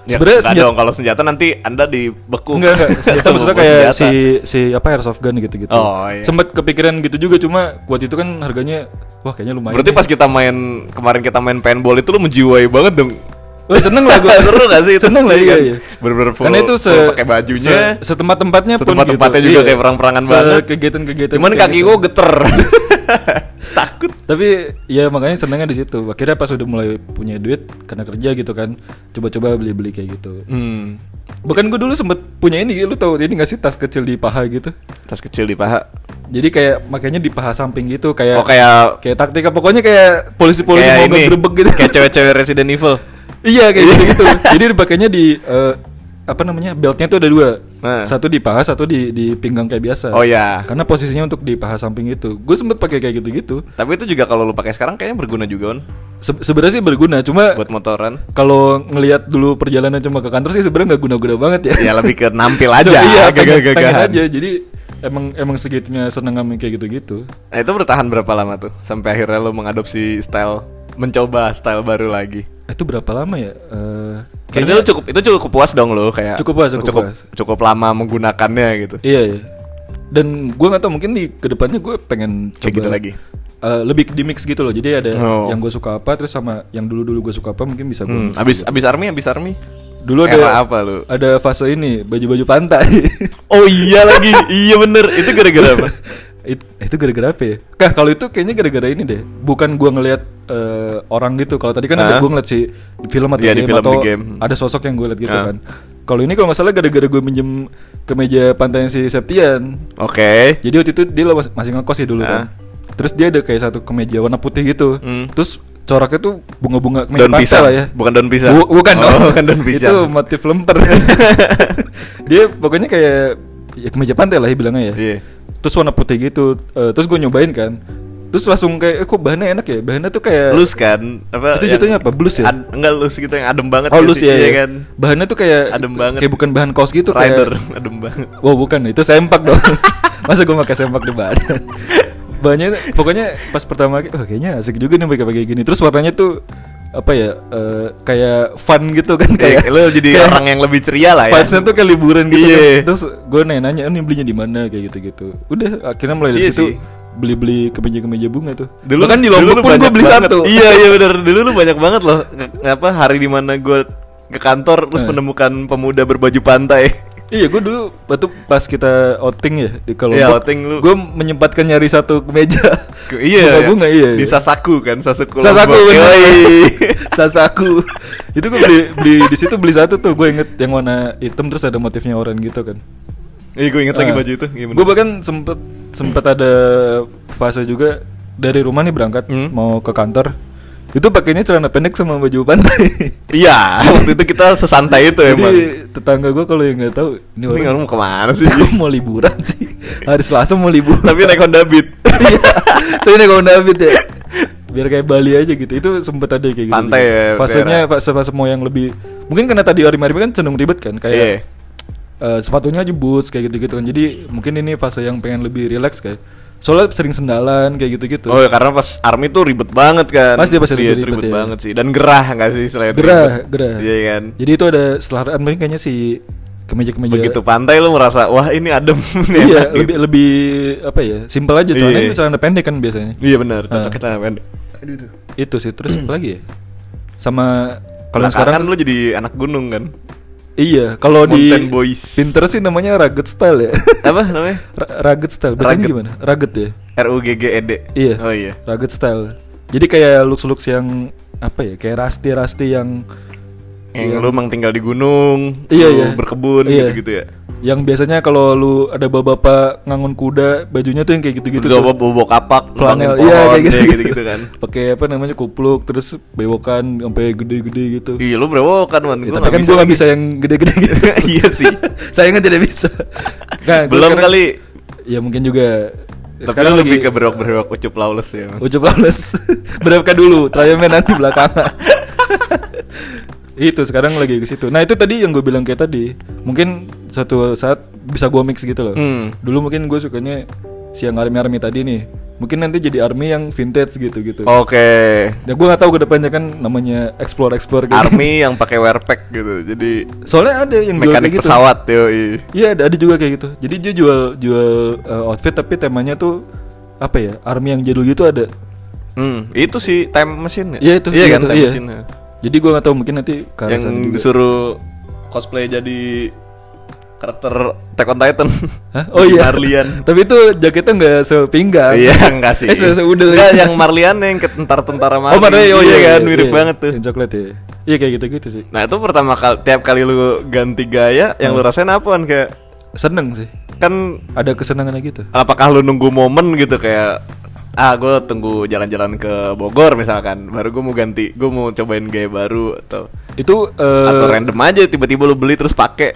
Speaker 1: Hmm. Ya,
Speaker 2: Sebenarnya
Speaker 1: nggak
Speaker 2: senjata
Speaker 1: dong kalau senjata nanti Anda dibeku.
Speaker 2: Enggak, enggak. Senjata
Speaker 1: Nggak
Speaker 2: maksudnya
Speaker 1: bawa
Speaker 2: kayak
Speaker 1: senjata.
Speaker 2: si si apa airsoft gun gitu-gitu.
Speaker 1: Oh, iya.
Speaker 2: Sempet kepikiran gitu juga cuma buat itu kan harganya wah kayaknya lumayan. ya
Speaker 1: Berarti
Speaker 2: nih.
Speaker 1: pas kita main kemarin kita main paintball itu lu menjiwai banget dong.
Speaker 2: Wah seneng lah gue
Speaker 1: Seru nggak sih itu?
Speaker 2: Seneng lah
Speaker 1: Iya
Speaker 2: iya
Speaker 1: kan?
Speaker 2: iya
Speaker 1: Bener-bener full-
Speaker 2: Karena itu se
Speaker 1: full pakai bajunya,
Speaker 2: se- Setempat-tempatnya pun
Speaker 1: setempat-tempatnya juga kayak perang-perangan banget.
Speaker 2: kegiatan-kegiatan
Speaker 1: Cuman
Speaker 2: kayak
Speaker 1: kaki
Speaker 2: gitu.
Speaker 1: gua geter. Takut.
Speaker 2: Tapi ya makanya senengnya di situ Akhirnya pas udah mulai punya duit Karena kerja gitu kan Coba-coba beli-beli kayak gitu
Speaker 1: Hmm.
Speaker 2: Bahkan gue dulu sempet punya ini Lu tau ini gak sih tas kecil di paha gitu
Speaker 1: Tas kecil di paha.
Speaker 2: Jadi kayak makanya di paha samping gitu Kayak
Speaker 1: Oh kayak
Speaker 2: kayak taktika Pokoknya kayak polisi-polisi
Speaker 1: kayak
Speaker 2: mau
Speaker 1: ini.
Speaker 2: ngegerebek gitu
Speaker 1: Kayak cewek-cewek Resident Evil.
Speaker 2: Iya kayak gitu gitu. Jadi dipakainya di eh, apa namanya beltnya tuh ada dua.
Speaker 1: Nah.
Speaker 2: Satu di paha, satu di di pinggang kayak biasa.
Speaker 1: Oh ya.
Speaker 2: Karena posisinya untuk di paha samping itu. Gue sempet pakai kayak gitu gitu.
Speaker 1: Tapi itu juga kalau lu pakai sekarang kayaknya berguna juga on
Speaker 2: Se- sebenarnya sih berguna. Cuma
Speaker 1: buat motoran.
Speaker 2: kalau ngelihat dulu perjalanan cuma ke kantor sih sebenarnya nggak guna-guna banget ya.
Speaker 1: Ya lebih ke nampil
Speaker 2: Cuma
Speaker 1: aja,
Speaker 2: iya, pengen- pengen
Speaker 1: gagah-gagahan.
Speaker 2: aja. Jadi emang emang segitunya seneng sama kayak gitu gitu.
Speaker 1: Nah itu bertahan berapa lama tuh sampai akhirnya lo mengadopsi style mencoba style baru lagi.
Speaker 2: Itu berapa lama ya? Eh,
Speaker 1: Kayaknya lo cukup itu cukup puas dong lo kayak
Speaker 2: Cukup puas, cukup
Speaker 1: cukup,
Speaker 2: puas.
Speaker 1: cukup lama menggunakannya gitu.
Speaker 2: Iya, iya. Dan gue nggak tahu mungkin di kedepannya gue pengen coba
Speaker 1: Kayak gitu lagi.
Speaker 2: Eh, lebih di mix gitu loh. Jadi ada
Speaker 1: Oh.
Speaker 2: yang gue suka apa, terus sama yang dulu dulu gue suka apa mungkin bisa gue.
Speaker 1: Hmm,
Speaker 2: mix.
Speaker 1: abis abis army abis army.
Speaker 2: Dulu
Speaker 1: era
Speaker 2: ada
Speaker 1: apa lo?
Speaker 2: ada fase ini baju-baju pantai.
Speaker 1: Oh iya lagi, iya bener. Itu gara-gara apa?
Speaker 2: It- itu gara-gara apa ya? Kah kalau itu kayaknya gara-gara ini deh. Bukan gue ngelihat eh, orang gitu. Kalau tadi kan
Speaker 1: Ah.
Speaker 2: ada gue ngeliat si di film atau
Speaker 1: Iya, di
Speaker 2: game
Speaker 1: film, di
Speaker 2: atau
Speaker 1: game.
Speaker 2: ada sosok yang gue liat gitu
Speaker 1: Ah.
Speaker 2: kan. Kalau ini kalau nggak salah gara-gara gue minjem kemeja pantainya si Septian.
Speaker 1: Oke.
Speaker 2: Jadi waktu itu dia lo- masih ngekos ya dulu
Speaker 1: Ah.
Speaker 2: kan. Terus dia ada kayak satu kemeja warna putih gitu.
Speaker 1: Hmm.
Speaker 2: Terus coraknya tuh bunga-bunga kemeja
Speaker 1: Daun
Speaker 2: pantai
Speaker 1: pisang.
Speaker 2: lah ya.
Speaker 1: Bukan daun pisang.
Speaker 2: Bu- bukan
Speaker 1: Oh,
Speaker 2: dong.
Speaker 1: bukan daun pisang.
Speaker 2: Itu motif lemper. dia pokoknya kayak ya kemeja pantai lah ya bilangnya ya.
Speaker 1: Iya.
Speaker 2: Terus warna putih gitu. Eh, terus gue nyobain kan. Terus langsung kayak eh, kok bahannya enak ya? Bahannya tuh kayak
Speaker 1: Loose kan? Apa
Speaker 2: Itu
Speaker 1: yang-
Speaker 2: jatuhnya apa? Blues ya?
Speaker 1: Ad- enggak loose gitu yang adem banget
Speaker 2: Oh,
Speaker 1: gitu
Speaker 2: loose
Speaker 1: sih,
Speaker 2: ya,
Speaker 1: iya
Speaker 2: ya.
Speaker 1: kan?
Speaker 2: Bahannya tuh kayak
Speaker 1: Adem banget.
Speaker 2: Kayak bukan bahan kaos gitu kayak-
Speaker 1: Rider adem banget.
Speaker 2: Wow bukan itu sempak dong. Masa gue pakai sempak di badan. Banyak pokoknya pas pertama kali, wah kayaknya asik juga nih pakai pakai gini. Terus warnanya tuh apa ya eh, kayak fun gitu kan
Speaker 1: Kayak
Speaker 2: kayak
Speaker 1: lo jadi
Speaker 2: kayak
Speaker 1: orang yang lebih ceria lah ya.
Speaker 2: vibesnya tuh kayak liburan gitu
Speaker 1: Iya.
Speaker 2: kan. terus gue nanya nanya "Oh, ini belinya di mana kayak gitu gitu udah akhirnya mulai dari
Speaker 1: Iya sih.
Speaker 2: situ beli beli kemeja kemeja bunga tuh
Speaker 1: Dulu
Speaker 2: kan di
Speaker 1: dulu
Speaker 2: lombok
Speaker 1: lu
Speaker 2: pun gue
Speaker 1: banyak
Speaker 2: beli
Speaker 1: banget.
Speaker 2: satu
Speaker 1: Iya iya benar. Dulu lu banyak banget loh. Nge- Apa hari dimana gue ke kantor terus
Speaker 2: Eh.
Speaker 1: menemukan pemuda berbaju pantai.
Speaker 2: Iya, gue dulu waktu pas kita outing ya di kalau
Speaker 1: Iya, outing lu.
Speaker 2: gue menyempatkan nyari satu kemeja.
Speaker 1: Ke- iya.
Speaker 2: bunga, bunga iya.
Speaker 1: Di
Speaker 2: iya.
Speaker 1: Sasaku kan, Sasaku.
Speaker 2: Sasaku
Speaker 1: Lombok.
Speaker 2: bener.
Speaker 1: Yoi.
Speaker 2: Sasaku. Itu gue beli beli di situ beli satu tuh, gue inget yang warna hitam terus ada motifnya oranye gitu kan.
Speaker 1: Iya gue inget
Speaker 2: Eh.
Speaker 1: lagi baju itu. Gimana?
Speaker 2: Gue bahkan sempet sempet ada fase juga dari rumah nih berangkat
Speaker 1: Hmm.
Speaker 2: mau ke kantor. Itu pakainya celana pendek sama baju pantai.
Speaker 1: Iya, waktu itu kita sesantai itu
Speaker 2: Jadi
Speaker 1: emang.
Speaker 2: tetangga gue kalau yang nggak tahu
Speaker 1: Ini
Speaker 2: ini orang
Speaker 1: orang mau kemana sih?
Speaker 2: Gue mau liburan sih Hari Selasa mau liburan
Speaker 1: Tapi naik Honda Beat.
Speaker 2: Iya Tapi naik Honda Beat ya Biar kayak Bali aja gitu Itu sempet ada kayak gitu
Speaker 1: Pantai
Speaker 2: juga.
Speaker 1: ya,
Speaker 2: Fasenya
Speaker 1: daerah.
Speaker 2: fase-fase mau yang lebih Mungkin karena tadi hari-hari kan cenderung ribet kan Kayak
Speaker 1: Iya.
Speaker 2: eh, Sepatunya aja boots kayak gitu-gitu kan Jadi mungkin ini fase yang pengen lebih relax kayak Soalnya sering sendalan kayak gitu-gitu
Speaker 1: Oh ya karena pas army tuh ribet banget kan.
Speaker 2: Pasti pasti
Speaker 1: Iya,
Speaker 2: ribet-ribet,
Speaker 1: ribet
Speaker 2: ya.
Speaker 1: banget sih. Dan gerah nggak sih selain
Speaker 2: Gerah,
Speaker 1: ribet?
Speaker 2: gerah
Speaker 1: Iya kan.
Speaker 2: Jadi itu ada selaraan Mungkin kayaknya si kemeja-kemeja
Speaker 1: Begitu pantai lu merasa wah ini adem nih
Speaker 2: Iya,
Speaker 1: enak gitu.
Speaker 2: lebih lebih apa ya? Simpel aja soalnya
Speaker 1: Iya.
Speaker 2: itu celana pendek kan biasanya.
Speaker 1: Iya benar, cocok
Speaker 2: Ah.
Speaker 1: kita kan.
Speaker 2: Itu sih terus apa lagi ya? Sama kalau yang sekarang
Speaker 1: sekarang lu jadi anak gunung kan.
Speaker 2: iya, kalau di
Speaker 1: Mountain Boys.
Speaker 2: Pinterest sih namanya rugged style ya.
Speaker 1: Apa namanya?
Speaker 2: Ra- rugged style. Bacanya
Speaker 1: Rugged.
Speaker 2: gimana? Rugged ya.
Speaker 1: RUGGED.
Speaker 2: Iya.
Speaker 1: Oh iya.
Speaker 2: Rugged style. Jadi kayak looks-looks yang apa ya? Kayak rasti-rasti yang
Speaker 1: Yang
Speaker 2: Iya.
Speaker 1: lu emang tinggal di gunung,
Speaker 2: Iya,
Speaker 1: lu
Speaker 2: iya.
Speaker 1: berkebun
Speaker 2: Iya.
Speaker 1: gitu-gitu ya.
Speaker 2: yang biasanya kalau lu ada bapak-bapak ngangon kuda, bajunya tuh yang kayak gitu-gitu.
Speaker 1: Lu
Speaker 2: tuh.
Speaker 1: bawa bobo kapak,
Speaker 2: flanel
Speaker 1: numpangin
Speaker 2: Gitu iya
Speaker 1: pohon,
Speaker 2: kayak gitu,
Speaker 1: gitu-gitu kan.
Speaker 2: pakai apa namanya kupluk terus bewokan sampai gede-gede gitu
Speaker 1: Iya, lu berewokan man.
Speaker 2: Ya,
Speaker 1: Gua
Speaker 2: tapi
Speaker 1: nggak
Speaker 2: kan
Speaker 1: bisa
Speaker 2: gue gak
Speaker 1: lagi.
Speaker 2: bisa yang gede-gede gitu
Speaker 1: Iya sih.
Speaker 2: sayangnya tidak bisa Nah, gua
Speaker 1: Belum
Speaker 2: sekarang-
Speaker 1: kali.
Speaker 2: ya mungkin juga
Speaker 1: Tapi lu lebih ke berewok-berewok ucup lawless ya. Man.
Speaker 2: ucup lawless berapa dulu triumphnya nanti belakangan itu sekarang lagi ke situ nah itu tadi yang gue bilang kayak tadi mungkin suatu saat bisa gue mix gitu loh
Speaker 1: Hmm.
Speaker 2: dulu mungkin gue sukanya siang army army tadi nih mungkin nanti jadi army yang vintage gitu gitu
Speaker 1: Oke.
Speaker 2: Ya gue gak tahu kedepannya kan namanya explore explore gitu.
Speaker 1: Army yang pakai wear pack gitu. Jadi
Speaker 2: Soalnya ada yang jual
Speaker 1: mekanik
Speaker 2: kayak gitu.
Speaker 1: pesawat yoi.
Speaker 2: Iya ada, ada juga kayak gitu. Jadi dia jual jual eh, outfit tapi temanya tuh apa ya army yang jadul gitu ada.
Speaker 1: Hmm, itu sih time machine ya?
Speaker 2: Iya itu.
Speaker 1: Iya
Speaker 2: iya
Speaker 1: kan
Speaker 2: itu,
Speaker 1: time
Speaker 2: iya.
Speaker 1: machine. ya.
Speaker 2: Jadi gue gak tahu mungkin nanti ke arah
Speaker 1: Yang
Speaker 2: sana juga.
Speaker 1: disuruh cosplay jadi karakter Attack on Titan.
Speaker 2: Hah? Oh iya.
Speaker 1: Marlian.
Speaker 2: tapi itu jaketnya nggak sepinggal.
Speaker 1: Iya, enggak sih.
Speaker 2: Eh se seudel.
Speaker 1: Enggak, yang Marlian yang ke tentara-tentara
Speaker 2: Oh,
Speaker 1: Marlian.
Speaker 2: padahal, oh, iya,
Speaker 1: kan,
Speaker 2: iya,
Speaker 1: mirip
Speaker 2: iya.
Speaker 1: banget tuh.
Speaker 2: Yang coklat ya. Iya kayak gitu-gitu sih.
Speaker 1: Nah, itu pertama kali tiap kali lu ganti gaya, yang lu rasain apaan kayak
Speaker 2: Seneng sih.
Speaker 1: kan
Speaker 2: Ada kesenangannya gitu.
Speaker 1: apakah lu nunggu momen gitu kayak ah gue tunggu jalan-jalan ke Bogor misalkan baru gue mau ganti gue mau cobain gaya baru atau
Speaker 2: Itu eh,
Speaker 1: atau random aja tiba-tiba lu beli terus pakai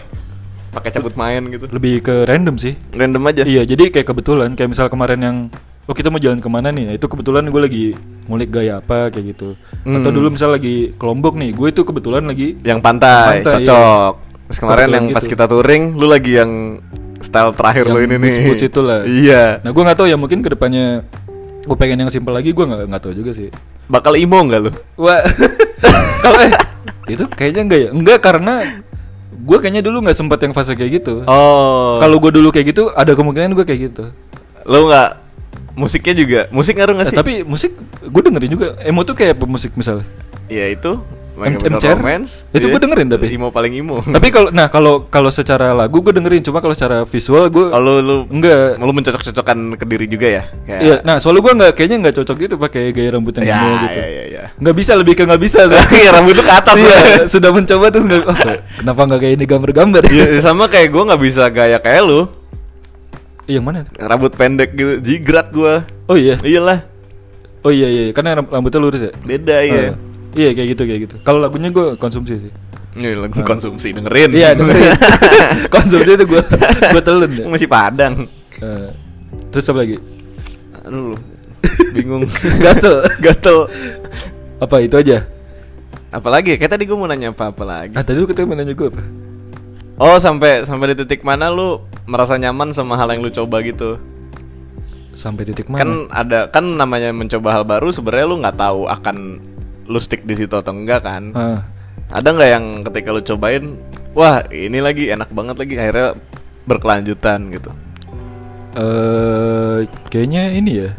Speaker 1: pakai cabut main gitu
Speaker 2: lebih ke random sih.
Speaker 1: random aja
Speaker 2: Iya, jadi kayak kebetulan kayak misal kemarin yang oh kita mau jalan kemana nih? Nah, itu kebetulan gue lagi ngulik gaya apa kayak gitu. Atau
Speaker 1: Hmm.
Speaker 2: dulu misal lagi ke Lombok nih, gue itu kebetulan lagi
Speaker 1: yang pantai,
Speaker 2: Pantai,
Speaker 1: cocok terus kemarin
Speaker 2: Kebetulan
Speaker 1: yang pas
Speaker 2: gitu.
Speaker 1: kita touring lu lagi yang style terakhir lu
Speaker 2: Yang
Speaker 1: ini nih
Speaker 2: boots-boots itu lah.
Speaker 1: iya
Speaker 2: Nah, gue nggak tahu ya mungkin kedepannya gue pengen yang simpel lagi, gue nggak nggak tahu juga sih.
Speaker 1: bakal imo nggak lu
Speaker 2: Wah, kalau eh itu kayaknya enggak ya? Enggak karena gue kayaknya dulu nggak sempat yang fase kayak gitu.
Speaker 1: oh
Speaker 2: Kalau gue dulu kayak gitu, ada kemungkinan gue kayak gitu.
Speaker 1: lu nggak musiknya juga musik ngaruh nggak
Speaker 2: Nah,
Speaker 1: sih
Speaker 2: tapi musik gue dengerin juga. Emo tuh kayak pemusik misalnya.
Speaker 1: ya itu My
Speaker 2: M-
Speaker 1: Chemical
Speaker 2: MCR?
Speaker 1: Romance iya.
Speaker 2: Itu gua dengerin tapi.
Speaker 1: imo paling imo
Speaker 2: Tapi kalau nah kalau kalau secara lagu gue dengerin cuma kalau secara visual gue
Speaker 1: kalau lu
Speaker 2: enggak.
Speaker 1: lu mencocok-cocokan ke diri juga ya kayak
Speaker 2: Iya, nah soalnya gue nggak kayaknya nggak cocok gitu pakai gaya rambut yang
Speaker 1: ya,
Speaker 2: emo gitu.
Speaker 1: ya, ya, ya.
Speaker 2: Nggak bisa lebih ke nggak bisa. soalnya.
Speaker 1: Iya, rambut lu ke atas
Speaker 2: Iya,
Speaker 1: ya.
Speaker 2: sudah mencoba terus nggak. oh, kenapa nggak kayak ini gambar-gambar?
Speaker 1: Iya, sama kayak gue nggak bisa gaya kayak lu
Speaker 2: Iya, yang mana?
Speaker 1: rambut pendek gitu jigrat gua
Speaker 2: Oh iya,
Speaker 1: iyalah
Speaker 2: oh iya iya, karena ram- rambutnya lurus ya.
Speaker 1: beda ya
Speaker 2: Oh, iya kayak gitu kayak gitu. Kalau lagunya gue konsumsi sih.
Speaker 1: Ini lagu Iya, konsumsi dengerin.
Speaker 2: Iya, dengerin. konsumsi itu gue gue telen ya.
Speaker 1: Masih Padang.
Speaker 2: Eh, terus apa lagi?
Speaker 1: Aduh. Anu bingung
Speaker 2: Gatel.
Speaker 1: gatel
Speaker 2: apa itu aja?
Speaker 1: apalagi ya? kayak tadi gue mau nanya apa apa lagi
Speaker 2: Ah tadi lu ketemu nanya gue apa?
Speaker 1: oh sampai sampai di titik mana lu merasa nyaman sama hal yang lu coba gitu
Speaker 2: Sampai titik
Speaker 1: kan
Speaker 2: mana?
Speaker 1: ada kan namanya mencoba hal baru sebenarnya lu nggak tahu akan lu stick di situ atau enggak kan
Speaker 2: Ah.
Speaker 1: ada nggak yang ketika lu cobain wah ini lagi enak banget lagi akhirnya berkelanjutan gitu
Speaker 2: Eh, kayaknya ini ya.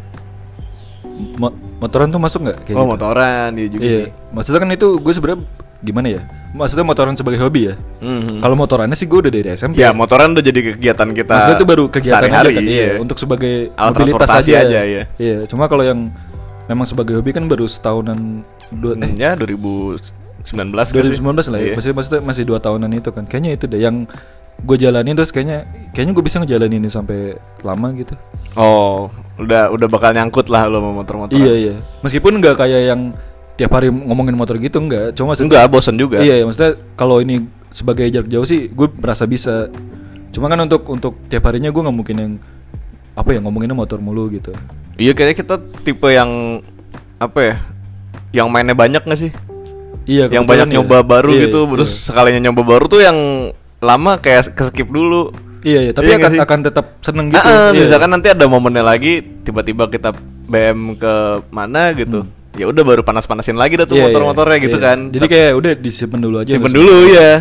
Speaker 2: Mo- motoran tuh masuk nggak? Kayak
Speaker 1: oh
Speaker 2: gitu?
Speaker 1: motoran dia juga
Speaker 2: Iya.
Speaker 1: sih
Speaker 2: Maksudnya kan itu gue sebenarnya gimana ya? Maksudnya motoran sebagai hobi ya.
Speaker 1: Mhm.
Speaker 2: Kalau motorannya sih gue udah dari SMP.
Speaker 1: ya motoran udah jadi kegiatan kita
Speaker 2: Kan Maksudnya itu baru kegiatan aja
Speaker 1: sehari-hari,
Speaker 2: kan, iya.
Speaker 1: iya.
Speaker 2: Untuk sebagai
Speaker 1: Alat
Speaker 2: mobilitas
Speaker 1: transportasi
Speaker 2: aja.
Speaker 1: aja, iya.
Speaker 2: Iya, cuma kalau yang memang sebagai hobi kan baru setahunan dua,
Speaker 1: Hmm,
Speaker 2: eh,
Speaker 1: ya 2019 nggak sih?
Speaker 2: 2019 lah
Speaker 1: Iya.
Speaker 2: ya. Maksudnya, maksudnya masih dua tahunan itu kan. Kayaknya itu deh yang gue jalanin terus kayaknya kayaknya gue bisa ngejalanin ini sampai lama gitu.
Speaker 1: Oh, udah udah bakal nyangkut lah lo sama motor-motor.
Speaker 2: Iya iya. Meskipun nggak kayak yang tiap hari ngomongin motor gitu nggak. Cuma maksudnya-
Speaker 1: Enggak bosen juga.
Speaker 2: Iya, iya, maksudnya kalau ini sebagai jarak jauh sih gue merasa bisa. Cuma kan untuk untuk tiap harinya gue nggak mungkin yang apa ya ngomonginnya motor mulu gitu.
Speaker 1: Iya kayaknya kita tipe yang apa ya? Yang mainnya banyak gak sih?
Speaker 2: Iya,
Speaker 1: yang
Speaker 2: kebetulan
Speaker 1: banyak
Speaker 2: iya.
Speaker 1: nyoba baru
Speaker 2: Iya,
Speaker 1: gitu,
Speaker 2: iya.
Speaker 1: terus sekalinya nyoba baru tuh yang lama kayak keskip dulu.
Speaker 2: Iya, iya, tapi
Speaker 1: Iya
Speaker 2: akan,
Speaker 1: nggak sih?
Speaker 2: akan tetap seneng gitu.
Speaker 1: Ah, ah,
Speaker 2: Iya.
Speaker 1: misalkan nanti ada momennya lagi tiba-tiba kita BM ke mana gitu. Ya udah baru panas-panasin lagi dah tuh
Speaker 2: Hmm. Iya, iya,
Speaker 1: motor-motornya gitu
Speaker 2: iya.
Speaker 1: kan.
Speaker 2: Jadi kayak udah disimpan dulu aja.
Speaker 1: simpen dulu ya.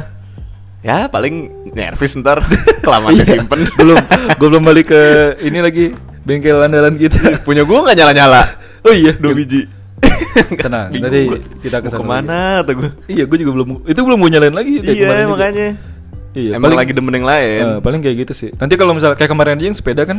Speaker 1: Ya paling nervis ntar kelamaan disimpen.
Speaker 2: Iya. belum, gue belum balik ke ini lagi bengkel andalan kita.
Speaker 1: Punya gua nggak nyala-nyala.
Speaker 2: oh iya,
Speaker 1: Dua biji.
Speaker 2: Tenang,
Speaker 1: Bingung
Speaker 2: nanti
Speaker 1: gua.
Speaker 2: kita
Speaker 1: Mau
Speaker 2: kesana
Speaker 1: kemana atau gua?
Speaker 2: Iya, gue juga belum. Itu belum mau nyalain lagi. kayak
Speaker 1: Iya
Speaker 2: kemarin gitu.
Speaker 1: makanya.
Speaker 2: Iya,
Speaker 1: Emang
Speaker 2: paling-
Speaker 1: lagi demen yang lain.
Speaker 2: Eh, paling kayak gitu sih. Nanti kalau misalnya kayak kemarin aja yang sepeda kan,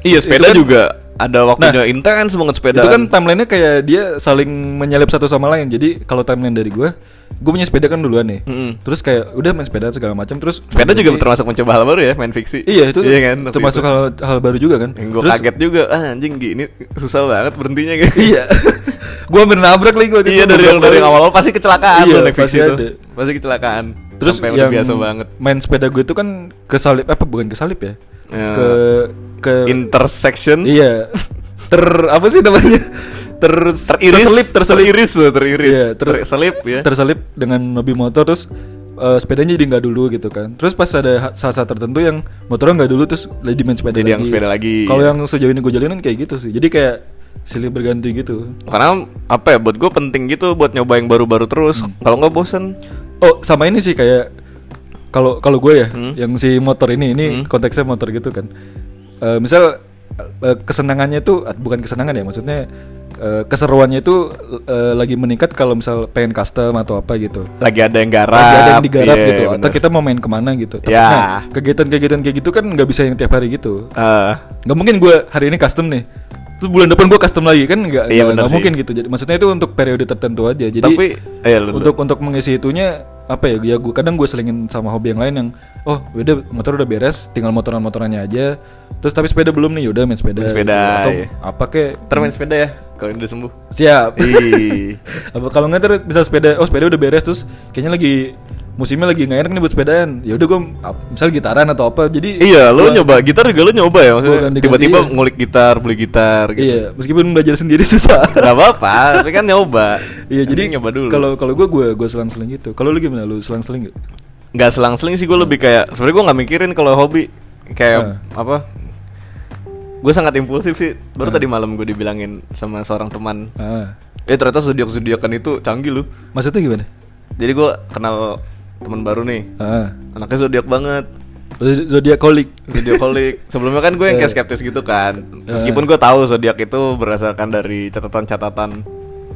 Speaker 1: iya
Speaker 2: itu
Speaker 1: sepeda
Speaker 2: kan-
Speaker 1: juga Nah, ada waktunya intens banget sepeda.
Speaker 2: itu kan timelinenya kayak dia saling menyalip satu sama lain. Jadi kalau timeline dari gue, gue punya sepeda kan duluan nih.
Speaker 1: Mm-mm.
Speaker 2: Terus kayak udah main sepeda segala macam. Terus
Speaker 1: sepeda juga
Speaker 2: berarti-
Speaker 1: termasuk mencoba hal baru ya main fiksi.
Speaker 2: Nah, Iya itu
Speaker 1: Iya kan. waktu
Speaker 2: termasuk
Speaker 1: itu.
Speaker 2: hal hal baru juga kan.
Speaker 1: Yang gue
Speaker 2: Terus-
Speaker 1: kaget juga ah, anjing gini susah banget berhentinya gitu.
Speaker 2: Iya. gue hampir nabrak lagi gue.
Speaker 1: iya dari dari awal awal pasti kecelakaan
Speaker 2: Iya,
Speaker 1: loh naik fiksi
Speaker 2: pasti
Speaker 1: itu.
Speaker 2: ada.
Speaker 1: Pasti kecelakaan.
Speaker 2: Terus
Speaker 1: Sampai udah
Speaker 2: yang
Speaker 1: biasa banget.
Speaker 2: Main sepeda gue itu kan kesalip apa bukan kesalip ya?
Speaker 1: Ya.
Speaker 2: Ke ke
Speaker 1: Intersection
Speaker 2: eh, Iya. Ter apa sih namanya? Ter
Speaker 1: teriris
Speaker 2: terselip terselip
Speaker 1: teriris loh, teriris.
Speaker 2: Iya, ter-
Speaker 1: terselip ya.
Speaker 2: terselip dengan mobil motor terus eh, sepedanya jadi nggak dulu gitu kan. Terus pas ada ha- saat-saat tertentu yang motornya nggak dulu terus jadi main sepeda
Speaker 1: Jadi
Speaker 2: lagi.
Speaker 1: yang sepeda lagi,
Speaker 2: Kalau
Speaker 1: iya.
Speaker 2: yang sejauh ini gue jalanin kayak gitu sih. Jadi kayak silih berganti gitu.
Speaker 1: Karena apa ya buat gue penting gitu buat nyoba yang baru-baru terus.
Speaker 2: Hmm.
Speaker 1: Kalau nggak bosen.
Speaker 2: Oh sama ini sih kayak kalau kalau gue ya
Speaker 1: Hmm.
Speaker 2: yang si motor ini ini
Speaker 1: Hmm.
Speaker 2: konteksnya motor gitu kan. Eh, misal eh, kesenangannya itu ah, bukan kesenangan ya maksudnya eh, keseruannya itu eh, lagi meningkat kalau misal pengen custom atau apa gitu.
Speaker 1: lagi ada yang garap,
Speaker 2: lagi ada yang digarap
Speaker 1: iya,
Speaker 2: gitu atau
Speaker 1: bener.
Speaker 2: kita mau main kemana gitu Tapi,
Speaker 1: Ya.
Speaker 2: nah, kegiatan-kegiatan kayak gitu kan nggak bisa yang tiap hari gitu
Speaker 1: Eh,
Speaker 2: nggak mungkin gue hari ini custom nih terus bulan depan gue custom lagi kan nggak
Speaker 1: Iya,
Speaker 2: nggak-
Speaker 1: bener
Speaker 2: nggak
Speaker 1: sih.
Speaker 2: mungkin gitu jadi maksudnya itu untuk periode tertentu aja jadi
Speaker 1: tapi eh, lu-
Speaker 2: untuk untuk mengisi itunya apa ya ya gue kadang gue selingin sama hobi yang lain yang oh udah motor udah beres tinggal motoran-motorannya aja terus tapi sepeda belum nih yaudah main sepeda
Speaker 1: Main sepeda,
Speaker 2: atau
Speaker 1: iya.
Speaker 2: apa kek
Speaker 1: ntar main sepeda ya kalau udah sembuh.
Speaker 2: siap
Speaker 1: Ih.
Speaker 2: apa kalau nggak ter misal sepeda oh sepeda udah beres terus kayaknya lagi musimnya lagi nggak enak nih buat sepedaan ya udah gue misal gitaran atau apa jadi
Speaker 1: iya, lu
Speaker 2: gua-
Speaker 1: nyoba gitar juga lu nyoba ya maksudnya.
Speaker 2: Gua ganti-ganti,
Speaker 1: Tiba-tiba
Speaker 2: iya.
Speaker 1: ngulik gitar, beli gitar gitu.
Speaker 2: iya meskipun belajar sendiri susah
Speaker 1: Gak apa-apa, tapi kan nyoba.
Speaker 2: iya
Speaker 1: Mending
Speaker 2: jadi
Speaker 1: nyoba dulu.
Speaker 2: kalau kalau gue gue gue selang-seling gitu kalau lu gimana lu selang-seling gitu
Speaker 1: nggak selang-seling sih gue lebih kayak sebenarnya gue nggak mikirin kalau hobi
Speaker 2: Nah.
Speaker 1: kayak apa gue sangat impulsif sih baru
Speaker 2: Nah.
Speaker 1: tadi malam gue dibilangin sama seorang teman
Speaker 2: ah.
Speaker 1: eh ternyata zodiak zodiakan itu canggih loh
Speaker 2: maksudnya gimana
Speaker 1: jadi gue kenal teman baru nih
Speaker 2: ah.
Speaker 1: anaknya zodiak banget
Speaker 2: Zod- zodiak kolik
Speaker 1: zodiakolik sebelumnya kan gue yang
Speaker 2: Eh.
Speaker 1: kayak skeptis gitu kan meskipun gue tahu zodiak itu berdasarkan dari catatan-catatan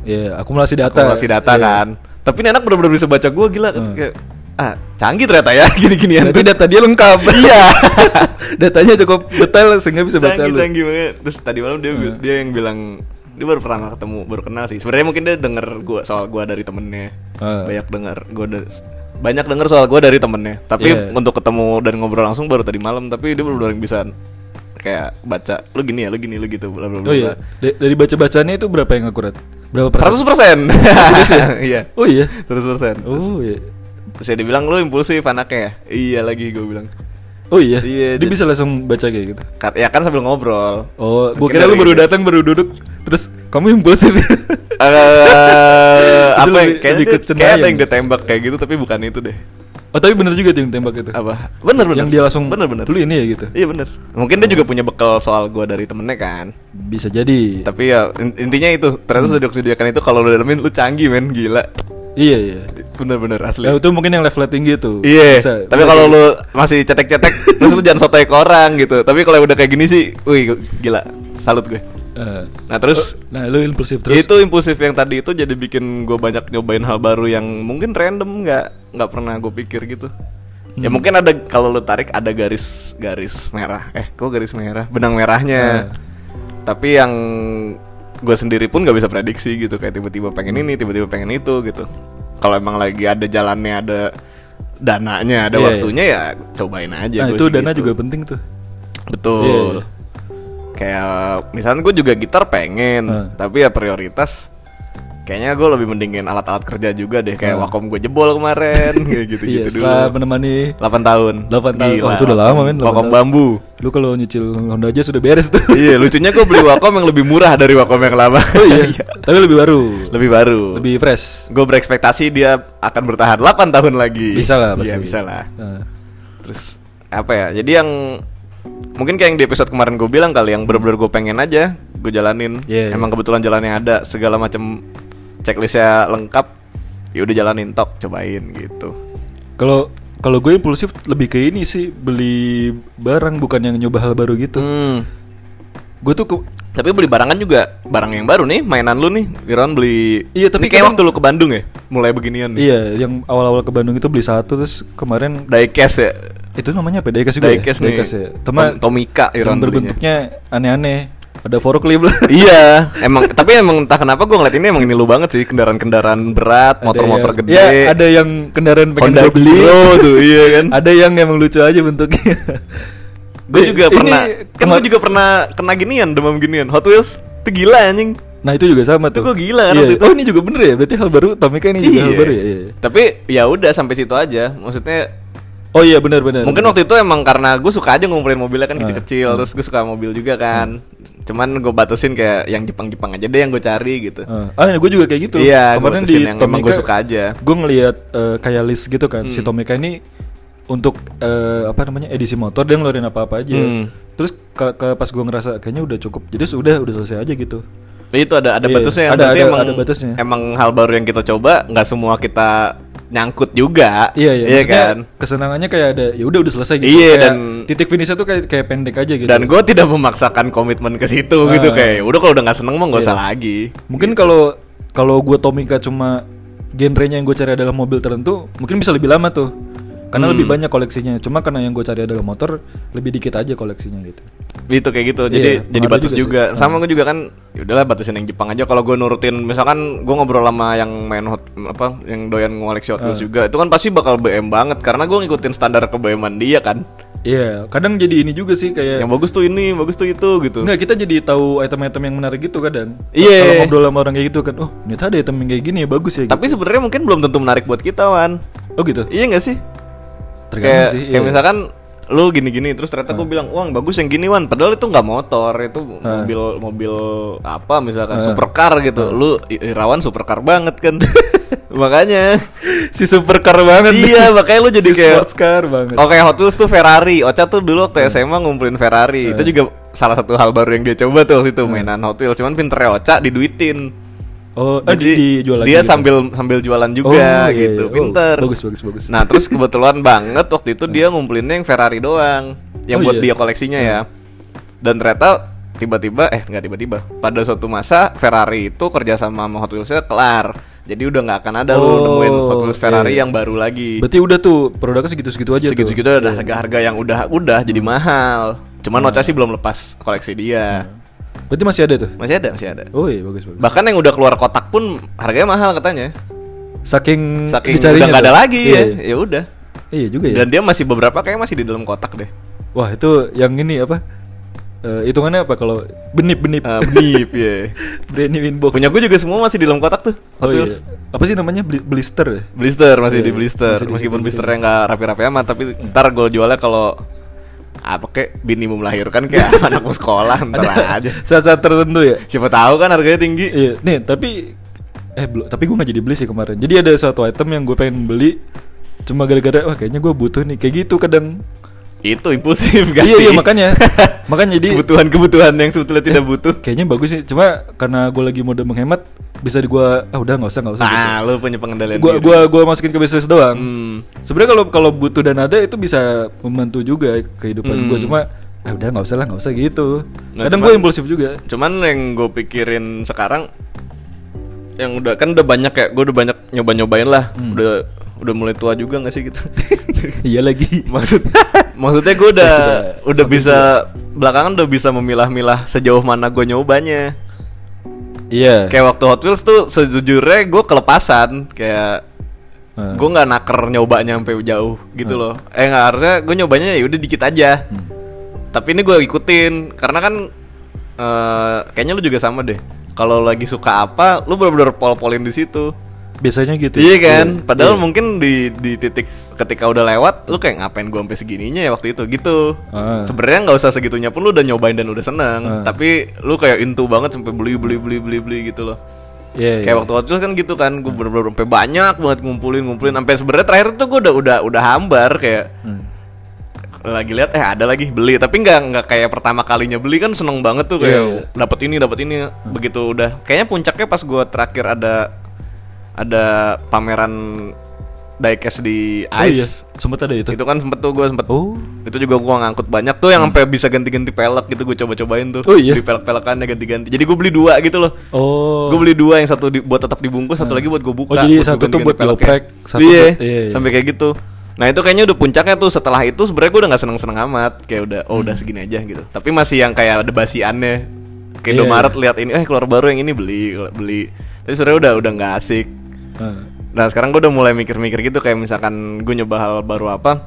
Speaker 2: ya akumulasi data
Speaker 1: akumulasi data
Speaker 2: Iya. Eh.
Speaker 1: kan tapi ini anak bener-bener bisa baca gue gila kayak ah canggih ternyata ya gini-ginian
Speaker 2: berarti Iya, data dia lengkap iya datanya cukup detail sehingga bisa baca
Speaker 1: canggih
Speaker 2: lu Eh.
Speaker 1: canggih banget terus tadi malam dia bi- dia yang bilang dia baru pertama ketemu baru kenal sih sebenarnya mungkin dia denger gua soal gua dari temennya
Speaker 2: Ah.
Speaker 1: banyak denger gua da- banyak denger soal gua dari temennya tapi
Speaker 2: Iya.
Speaker 1: untuk ketemu dan ngobrol langsung baru tadi malam tapi dia belum yang bisa kayak baca lu gini ya lu gini lu gitu bla bla bla
Speaker 2: oh iya Da- dari baca bacaannya itu berapa yang akurat berapa persen
Speaker 1: seratus persen iya
Speaker 2: oh iya
Speaker 1: seratus persen
Speaker 2: oh iya
Speaker 1: terus ya dibilang lu impulsif anaknya ya iya lagi gua bilang
Speaker 2: Oh iya.
Speaker 1: Iya,
Speaker 2: dia
Speaker 1: jadi-
Speaker 2: bisa langsung baca kayak gitu.
Speaker 1: Ka- ya kan sambil ngobrol
Speaker 2: Oh, gua
Speaker 1: Mungkin
Speaker 2: kira
Speaker 1: dari-
Speaker 2: lu baru datang baru duduk terus kamu impulsif.
Speaker 1: eh
Speaker 2: Itu
Speaker 1: apa ya?
Speaker 2: lebih-
Speaker 1: Kayaknya
Speaker 2: lebih
Speaker 1: dia-
Speaker 2: ke
Speaker 1: kayaknya ada
Speaker 2: cenayang.
Speaker 1: yang ditembak kayak gitu tapi bukan itu deh.
Speaker 2: oh, tapi bener juga tuh yang tembak itu.
Speaker 1: Apa? Bener bener.
Speaker 2: Yang dia langsung
Speaker 1: bener bener.
Speaker 2: Lu ini ya gitu.
Speaker 1: Iya bener. Mungkin dia juga punya bekal soal gua dari temennya kan.
Speaker 2: Bisa jadi.
Speaker 1: Tapi ya in- intinya itu
Speaker 2: Hmm.
Speaker 1: ternyata sudah sediakan itu kalau lu dalemin lu canggih men gila.
Speaker 2: Iya iya.
Speaker 1: Bener bener asli.
Speaker 2: Ya, itu mungkin yang level tinggi tuh.
Speaker 1: Iya,
Speaker 2: Bisa.
Speaker 1: tapi
Speaker 2: Bisa
Speaker 1: kalau
Speaker 2: jadi.
Speaker 1: lu masih cetek-cetek, terus lu jangan sotoy ke orang gitu. Tapi kalau udah kayak gini sih, wih gila, salut gue.
Speaker 2: Eh,
Speaker 1: Nah terus
Speaker 2: nah lu impulsif terus.
Speaker 1: itu impulsif yang tadi itu jadi bikin gue banyak nyobain hal baru yang mungkin random nggak nggak pernah gue pikir gitu
Speaker 2: Hmm.
Speaker 1: ya mungkin ada kalau lu tarik ada garis garis merah eh kok garis merah benang
Speaker 2: Eh.
Speaker 1: merahnya tapi yang gue sendiri pun nggak bisa prediksi gitu kayak tiba-tiba pengen
Speaker 2: Hmm.
Speaker 1: ini tiba-tiba pengen itu gitu kalau emang lagi ada jalannya ada dananya ada
Speaker 2: Iya, iya.
Speaker 1: waktunya ya cobain aja
Speaker 2: nah,
Speaker 1: gua
Speaker 2: itu
Speaker 1: sih
Speaker 2: dana
Speaker 1: gitu.
Speaker 2: juga penting tuh. Iya,
Speaker 1: Betul.
Speaker 2: iya.
Speaker 1: Kayak misalnya gue juga gitar pengen,
Speaker 2: Heeh.
Speaker 1: tapi ya prioritas kayaknya gue lebih mendingin alat-alat kerja juga deh kayak
Speaker 2: Heeh.
Speaker 1: Wacom gue jebol kemarin kayak gitu-gitu
Speaker 2: iya,
Speaker 1: dulu.
Speaker 2: setelah menemani
Speaker 1: 8 tahun.
Speaker 2: 8 tahun.
Speaker 1: Gila,
Speaker 2: Oh, itu udah lama, men, 8
Speaker 1: Wacom
Speaker 2: tahun.
Speaker 1: bambu.
Speaker 2: lu kalau nyicil Honda aja sudah beres tuh.
Speaker 1: iya, lucunya gue beli Wacom yang lebih murah dari Wacom yang lama.
Speaker 2: Oh iya. Tapi lebih baru.
Speaker 1: lebih baru.
Speaker 2: Lebih fresh.
Speaker 1: Gue berekspektasi dia akan bertahan 8 tahun lagi.
Speaker 2: Bisa lah pasti.
Speaker 1: Iya, bisa lah.
Speaker 2: Nah,
Speaker 1: Terus apa ya? Jadi yang mungkin kayak yang di episode kemarin gue bilang kali yang bener-bener gue pengen aja gue jalanin.
Speaker 2: Iya,
Speaker 1: Emang kebetulan jalannya ada segala macam checklistnya lengkap. Ya udah jalanin tok, cobain gitu.
Speaker 2: Kalau kalau gue impulsif lebih ke ini sih beli barang bukan yang nyoba hal baru gitu.
Speaker 1: Hmm.
Speaker 2: Gue tuh ke
Speaker 1: Tapi beli barangan juga barang yang baru nih, mainan lu nih. Iron beli.
Speaker 2: Iya, tapi
Speaker 1: Ini kayak
Speaker 2: kadang-
Speaker 1: waktu lu ke Bandung ya, mulai beginian. nih.
Speaker 2: Iya, yang awal-awal ke Bandung itu beli satu terus kemarin
Speaker 1: Diecast ya.
Speaker 2: itu namanya apa? Diecast juga. ya?
Speaker 1: Diecast nih.
Speaker 2: ya. Tema-
Speaker 1: Tom- Tomika Iron
Speaker 2: yang
Speaker 1: belinya.
Speaker 2: berbentuknya aneh-aneh. Ada forklift lah.
Speaker 1: iya, emang tapi emang entah kenapa gue ngeliat ini emang ini lu banget sih kendaraan-kendaraan berat,
Speaker 2: Ada
Speaker 1: motor-motor
Speaker 2: yang-
Speaker 1: gede.
Speaker 2: Ya, ada yang kendaraan pengen
Speaker 1: Honda
Speaker 2: gua beli.
Speaker 1: Bro tuh, iya kan.
Speaker 2: ada yang emang lucu aja bentuknya.
Speaker 1: Gue
Speaker 2: Ini-
Speaker 1: juga
Speaker 2: ini
Speaker 1: pernah, kan gue
Speaker 2: kema-
Speaker 1: juga pernah kena ginian, demam ginian. Hot Wheels, itu gila anjing.
Speaker 2: Nah, itu juga sama
Speaker 1: Itu
Speaker 2: tuh.
Speaker 1: gua gila kan
Speaker 2: Iya.
Speaker 1: waktu itu.
Speaker 2: Oh, ini juga bener ya? Berarti hal baru Tomika ini juga hal baru ya? Iya.
Speaker 1: Tapi ya udah sampai situ aja. Maksudnya
Speaker 2: Oh iya benar-benar.
Speaker 1: mungkin waktu itu emang karena gue suka aja ngumpulin mobilnya kan
Speaker 2: Ah.
Speaker 1: kecil-kecil, terus gue suka mobil juga kan. Cuman gue batasin kayak yang Jepang-Jepang aja deh yang gue cari gitu.
Speaker 2: ah, gue juga kayak gitu.
Speaker 1: Iya, gua
Speaker 2: kemarin
Speaker 1: batasin
Speaker 2: di
Speaker 1: yang emang gua suka aja. Hmm.
Speaker 2: Gue ngelihat eh, kayak list gitu kan, si Tomika ini untuk eh, apa namanya edisi motor dia ngeluarin apa-apa aja.
Speaker 1: Hmm.
Speaker 2: Terus ke, ke- pas gue ngerasa kayaknya udah cukup, jadi sudah udah selesai aja gitu.
Speaker 1: Itu ada ada
Speaker 2: Iya,
Speaker 1: batasnya.
Speaker 2: ada-
Speaker 1: Berarti
Speaker 2: ada-
Speaker 1: emang,
Speaker 2: ada batasnya.
Speaker 1: Emang hal baru yang kita coba nggak semua kita nyangkut juga.
Speaker 2: Iya iya. maksudnya
Speaker 1: kan.
Speaker 2: Kesenangannya kayak ada, ya udah udah selesai gitu.
Speaker 1: Iya,
Speaker 2: Kayak
Speaker 1: dan-
Speaker 2: titik finishnya tuh kayak kayak pendek aja gitu.
Speaker 1: Dan gue tidak memaksakan komitmen ke situ gitu
Speaker 2: Ah. Iya.
Speaker 1: kayak. Udah kalau udah nggak seneng mah nggak usah lagi.
Speaker 2: mungkin kalau kalau gue Tomika cuma genrenya yang gue cari adalah mobil tertentu, mungkin bisa lebih lama tuh. Karena lebih banyak koleksinya. Cuma karena yang gue cari adalah motor, lebih dikit aja koleksinya gitu.
Speaker 1: Gitu kayak gitu.
Speaker 2: Iya,
Speaker 1: Jadi jadi
Speaker 2: pengaruh
Speaker 1: batas
Speaker 2: juga sih. Hmm.
Speaker 1: juga. Sama gue juga kan ya udahlah batasin yang Jepang aja kalau gue nurutin misalkan gue ngobrol sama yang main hot apa yang doyan ngoleksi Hot
Speaker 2: Ah.
Speaker 1: Wheels juga itu kan pasti bakal BM banget karena gue ngikutin standar ke BM-an dia kan.
Speaker 2: Iya, kadang jadi ini juga sih kayak
Speaker 1: Yang bagus tuh ini, bagus tuh itu gitu.
Speaker 2: Iya. Enggak, kita jadi tahu item-item yang menarik gitu kadang.
Speaker 1: Iya.
Speaker 2: Kalau ngobrol sama orang kayak gitu kan, oh, ternyata ada item yang kayak gini ya bagus ya gitu.
Speaker 1: Tapi sebenarnya mungkin belum tentu menarik buat kita, Wan.
Speaker 2: Oh gitu.
Speaker 1: Iya gak sih?
Speaker 2: Tergantung
Speaker 1: kayak,
Speaker 2: sih,
Speaker 1: kayak
Speaker 2: iya. Ah.
Speaker 1: misalkan lu gini-gini terus ternyata gue bilang wah bagus yang gini wan padahal itu nggak motor itu mobil mobil apa misalkan
Speaker 2: Ah.
Speaker 1: supercar gitu lu I- Irawan supercar banget kan makanya
Speaker 2: si supercar banget.
Speaker 1: iya makanya lu jadi
Speaker 2: jadi Oh,
Speaker 1: kayak
Speaker 2: sports car banget. Ah.
Speaker 1: Oke Hot Wheels tuh Ferrari Ocha tuh dulu waktu SMA ngumpulin Ferrari Itu juga salah satu hal baru yang dia coba tuh waktu itu
Speaker 2: Ah.
Speaker 1: Mainan Hot Wheels Cuman pinternya Ocha diduitin
Speaker 2: Oh, eh, di, dijual lagi.
Speaker 1: dia
Speaker 2: gitu.
Speaker 1: sambil sambil jualan
Speaker 2: Oh,
Speaker 1: juga
Speaker 2: iya, iya.
Speaker 1: gitu
Speaker 2: Oh,
Speaker 1: pinter
Speaker 2: bagus, bagus, bagus. Nah.
Speaker 1: nah terus kebetulan banget waktu itu dia ngumpulinnya yang Ferrari doang yang
Speaker 2: Oh,
Speaker 1: buat
Speaker 2: iya.
Speaker 1: dia koleksinya ya dan ternyata tiba-tiba eh nggak tiba-tiba pada suatu masa Ferrari itu kerjasama sama Hot Wheelsnya kelar jadi udah nggak akan ada lu
Speaker 2: Oh,
Speaker 1: nemuin Hot Wheels Ferrari
Speaker 2: iya.
Speaker 1: yang baru lagi
Speaker 2: Berarti udah tuh produknya segitu-segitu aja tuh. Iya. Hmm. Nah.
Speaker 1: segitu-segitu ada harga-harga yang udah udah jadi mahal cuman Ocha sih belum lepas koleksi dia
Speaker 2: Hmm. Berarti masih ada tuh.
Speaker 1: masih ada masih ada
Speaker 2: Oh iya bagus bagus.
Speaker 1: bahkan yang udah keluar kotak pun harganya mahal katanya
Speaker 2: Saking,
Speaker 1: saking
Speaker 2: dicarinya
Speaker 1: udah nggak ada
Speaker 2: tuh.
Speaker 1: lagi
Speaker 2: iya.
Speaker 1: ya ya udah
Speaker 2: Iya Iya juga ya.
Speaker 1: dan dia masih beberapa kayak masih di dalam kotak deh
Speaker 2: Wah itu yang ini apa? Eh, hitungannya apa kalau benip benip?
Speaker 1: Ah, benip ya
Speaker 2: Benip inbox.
Speaker 1: punya gue juga semua masih di dalam kotak tuh Hot
Speaker 2: Oh, iya.
Speaker 1: Wheels.
Speaker 2: Apa sih namanya Bli- blister? ya?
Speaker 1: blister masih
Speaker 2: Iya,
Speaker 1: di blister
Speaker 2: masih di
Speaker 1: meskipun
Speaker 2: situ,
Speaker 1: blisternya nggak rapi-rapi amat tapi ntar gue jualnya kalau ah, apa kek minimum melahirkan kayak anak sekolah entar aja.
Speaker 2: Saat-saat tertentu ya.
Speaker 1: Siapa tahu kan harganya tinggi.
Speaker 2: Iya, nih tapi eh belum tapi gue nggak jadi beli sih kemarin. Jadi ada suatu item yang gue pengen beli cuma gara-gara wah kayaknya gue butuh nih kayak gitu kadang.
Speaker 1: Itu impulsif gak
Speaker 2: iya
Speaker 1: sih?
Speaker 2: iya makanya makanya jadi Iya,
Speaker 1: kebutuhan-kebutuhan yang sebetulnya tidak butuh.
Speaker 2: kayaknya bagus sih cuma karena gue lagi mode menghemat bisa di gue ah udah nggak usah nggak usah.
Speaker 1: Nah, lu punya pengendalian
Speaker 2: Gue
Speaker 1: diri.
Speaker 2: gua gua masukin ke bisnis doang.
Speaker 1: Hmm.
Speaker 2: Sebenarnya kalau kalau butuh dan ada itu bisa membantu juga kehidupan
Speaker 1: Hmm.
Speaker 2: gue cuma ah udah nggak usah lah nggak usah gitu.
Speaker 1: Nah,
Speaker 2: kadang
Speaker 1: cuman-
Speaker 2: gue impulsif juga.
Speaker 1: Cuman yang gue pikirin sekarang yang udah kan udah banyak ya, gue udah banyak nyoba-nyobain lah.
Speaker 2: Hmm.
Speaker 1: Udah udah mulai tua juga gak sih gitu.
Speaker 2: iya lagi.
Speaker 1: Maksud maksudnya gue udah
Speaker 2: Sudah-
Speaker 1: udah bisa belakangan udah bisa memilah-milah sejauh mana gue nyobanya.
Speaker 2: Iya.
Speaker 1: Kayak waktu Hot Wheels tuh sejujurnya gue kelepasan kayak
Speaker 2: Ah.
Speaker 1: gue nggak naker nyobanya sampai jauh gitu
Speaker 2: Hmm.
Speaker 1: loh. Eh nggak harusnya gue nyobanya ya udah dikit aja.
Speaker 2: Hmm.
Speaker 1: Tapi ini gue ikutin karena kan eh, kayaknya lu juga sama deh. Kalau lagi suka apa, lu bener-bener pol-polin di situ.
Speaker 2: biasanya gitu
Speaker 1: Iya kan? Padahal
Speaker 2: Iya.
Speaker 1: mungkin di di titik ketika udah lewat, lu kayak ngapain gua sampai segininya ya waktu itu gitu.
Speaker 2: Ah.
Speaker 1: Sebenarnya nggak usah segitunya pun lu udah nyobain dan udah seneng.
Speaker 2: Ah.
Speaker 1: Tapi lu kayak intu banget sampai beli beli beli beli beli gitu loh.
Speaker 2: Iya, iya.
Speaker 1: Kayak waktu Hot Wheels kan gitu kan, gue bener-bener sampai banyak banget ngumpulin ngumpulin sampai sebenarnya terakhir tuh gue udah udah udah hambar kayak
Speaker 2: Hmm.
Speaker 1: lagi lihat eh ada lagi beli tapi nggak nggak kayak pertama kalinya beli kan seneng banget tuh kayak
Speaker 2: Iya, iya.
Speaker 1: dapat ini dapat ini begitu udah kayaknya puncaknya pas gue terakhir ada ada pameran diecast di
Speaker 2: Oh iya,
Speaker 1: ice
Speaker 2: sempat ada itu.
Speaker 1: itu kan sempet tuh gue sempet
Speaker 2: Oh. Hmm.
Speaker 1: itu juga gua ngangkut banyak tuh yang sampai bisa ganti-ganti pelek gitu gue coba-cobain tuh
Speaker 2: Oh, iya.
Speaker 1: di pelek-pelekannya ganti-ganti jadi gue beli dua gitu loh
Speaker 2: Oh.
Speaker 1: Gue beli dua, yang satu di- buat tetap dibungkus, satu
Speaker 2: Hmm.
Speaker 1: lagi buat gue buka.
Speaker 2: Oh, jadi
Speaker 1: gua
Speaker 2: satu tuh
Speaker 1: ganti-ganti
Speaker 2: buat
Speaker 1: peleknya.
Speaker 2: dioprek, satu
Speaker 1: iya,
Speaker 2: buat- iya, iya.
Speaker 1: sampai kayak gitu. Nah itu kayaknya udah puncaknya tuh setelah itu sebenarnya gue udah nggak seneng-seneng amat kayak udah oh
Speaker 2: Hmm.
Speaker 1: udah segini aja gitu tapi masih yang kayak ada basiannya kayak
Speaker 2: Iya,
Speaker 1: Indomaret lihat ini eh keluar baru yang ini beli beli tapi sebenarnya udah udah nggak asik
Speaker 2: Ah.
Speaker 1: Nah sekarang gue udah mulai mikir-mikir gitu kayak misalkan gue nyoba hal baru apa.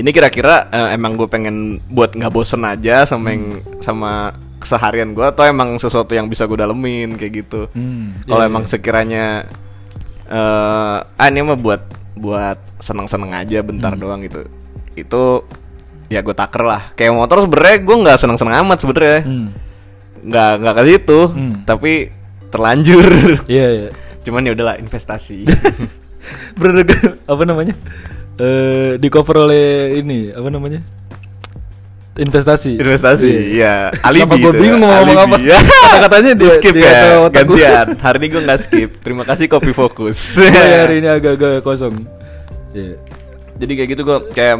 Speaker 1: Ini kira-kira eh, emang gue pengen buat nggak bosen aja sama yang
Speaker 2: Hmm.
Speaker 1: sama keseharian gue atau emang sesuatu yang bisa gue dalemin kayak gitu.
Speaker 2: Hmm,
Speaker 1: Kalau
Speaker 2: iya,
Speaker 1: emang sekiranya eh ah ini mah buat buat seneng-seneng aja
Speaker 2: Hmm.
Speaker 1: bentar doang gitu. Itu ya gue taker lah. Kayak motor sebenernya gue nggak seneng-seneng amat sebenernya.
Speaker 2: Hmm.
Speaker 1: Nggak nggak ke situ,
Speaker 2: Hmm.
Speaker 1: tapi terlanjur.
Speaker 2: Iya, iya.
Speaker 1: Cuman ya udahlah investasi.
Speaker 2: Bener- apa namanya? Eh, di cover oleh ini, apa namanya? Investasi.
Speaker 1: Investasi, iya. Alibi.
Speaker 2: Kenapa gua
Speaker 1: itu,
Speaker 2: bingung mau ngomong
Speaker 1: alibi.
Speaker 2: apa?
Speaker 1: Ya.
Speaker 2: Kata-katanya
Speaker 1: di
Speaker 2: di-
Speaker 1: skip
Speaker 2: di
Speaker 1: ya.
Speaker 2: otak gua.
Speaker 1: Gantian. Hari ini gue nggak skip. Terima kasih kopi fokus.
Speaker 2: Gua Iya, hari ini agak-agak kosong. Iya.
Speaker 1: Jadi kayak gitu gue kayak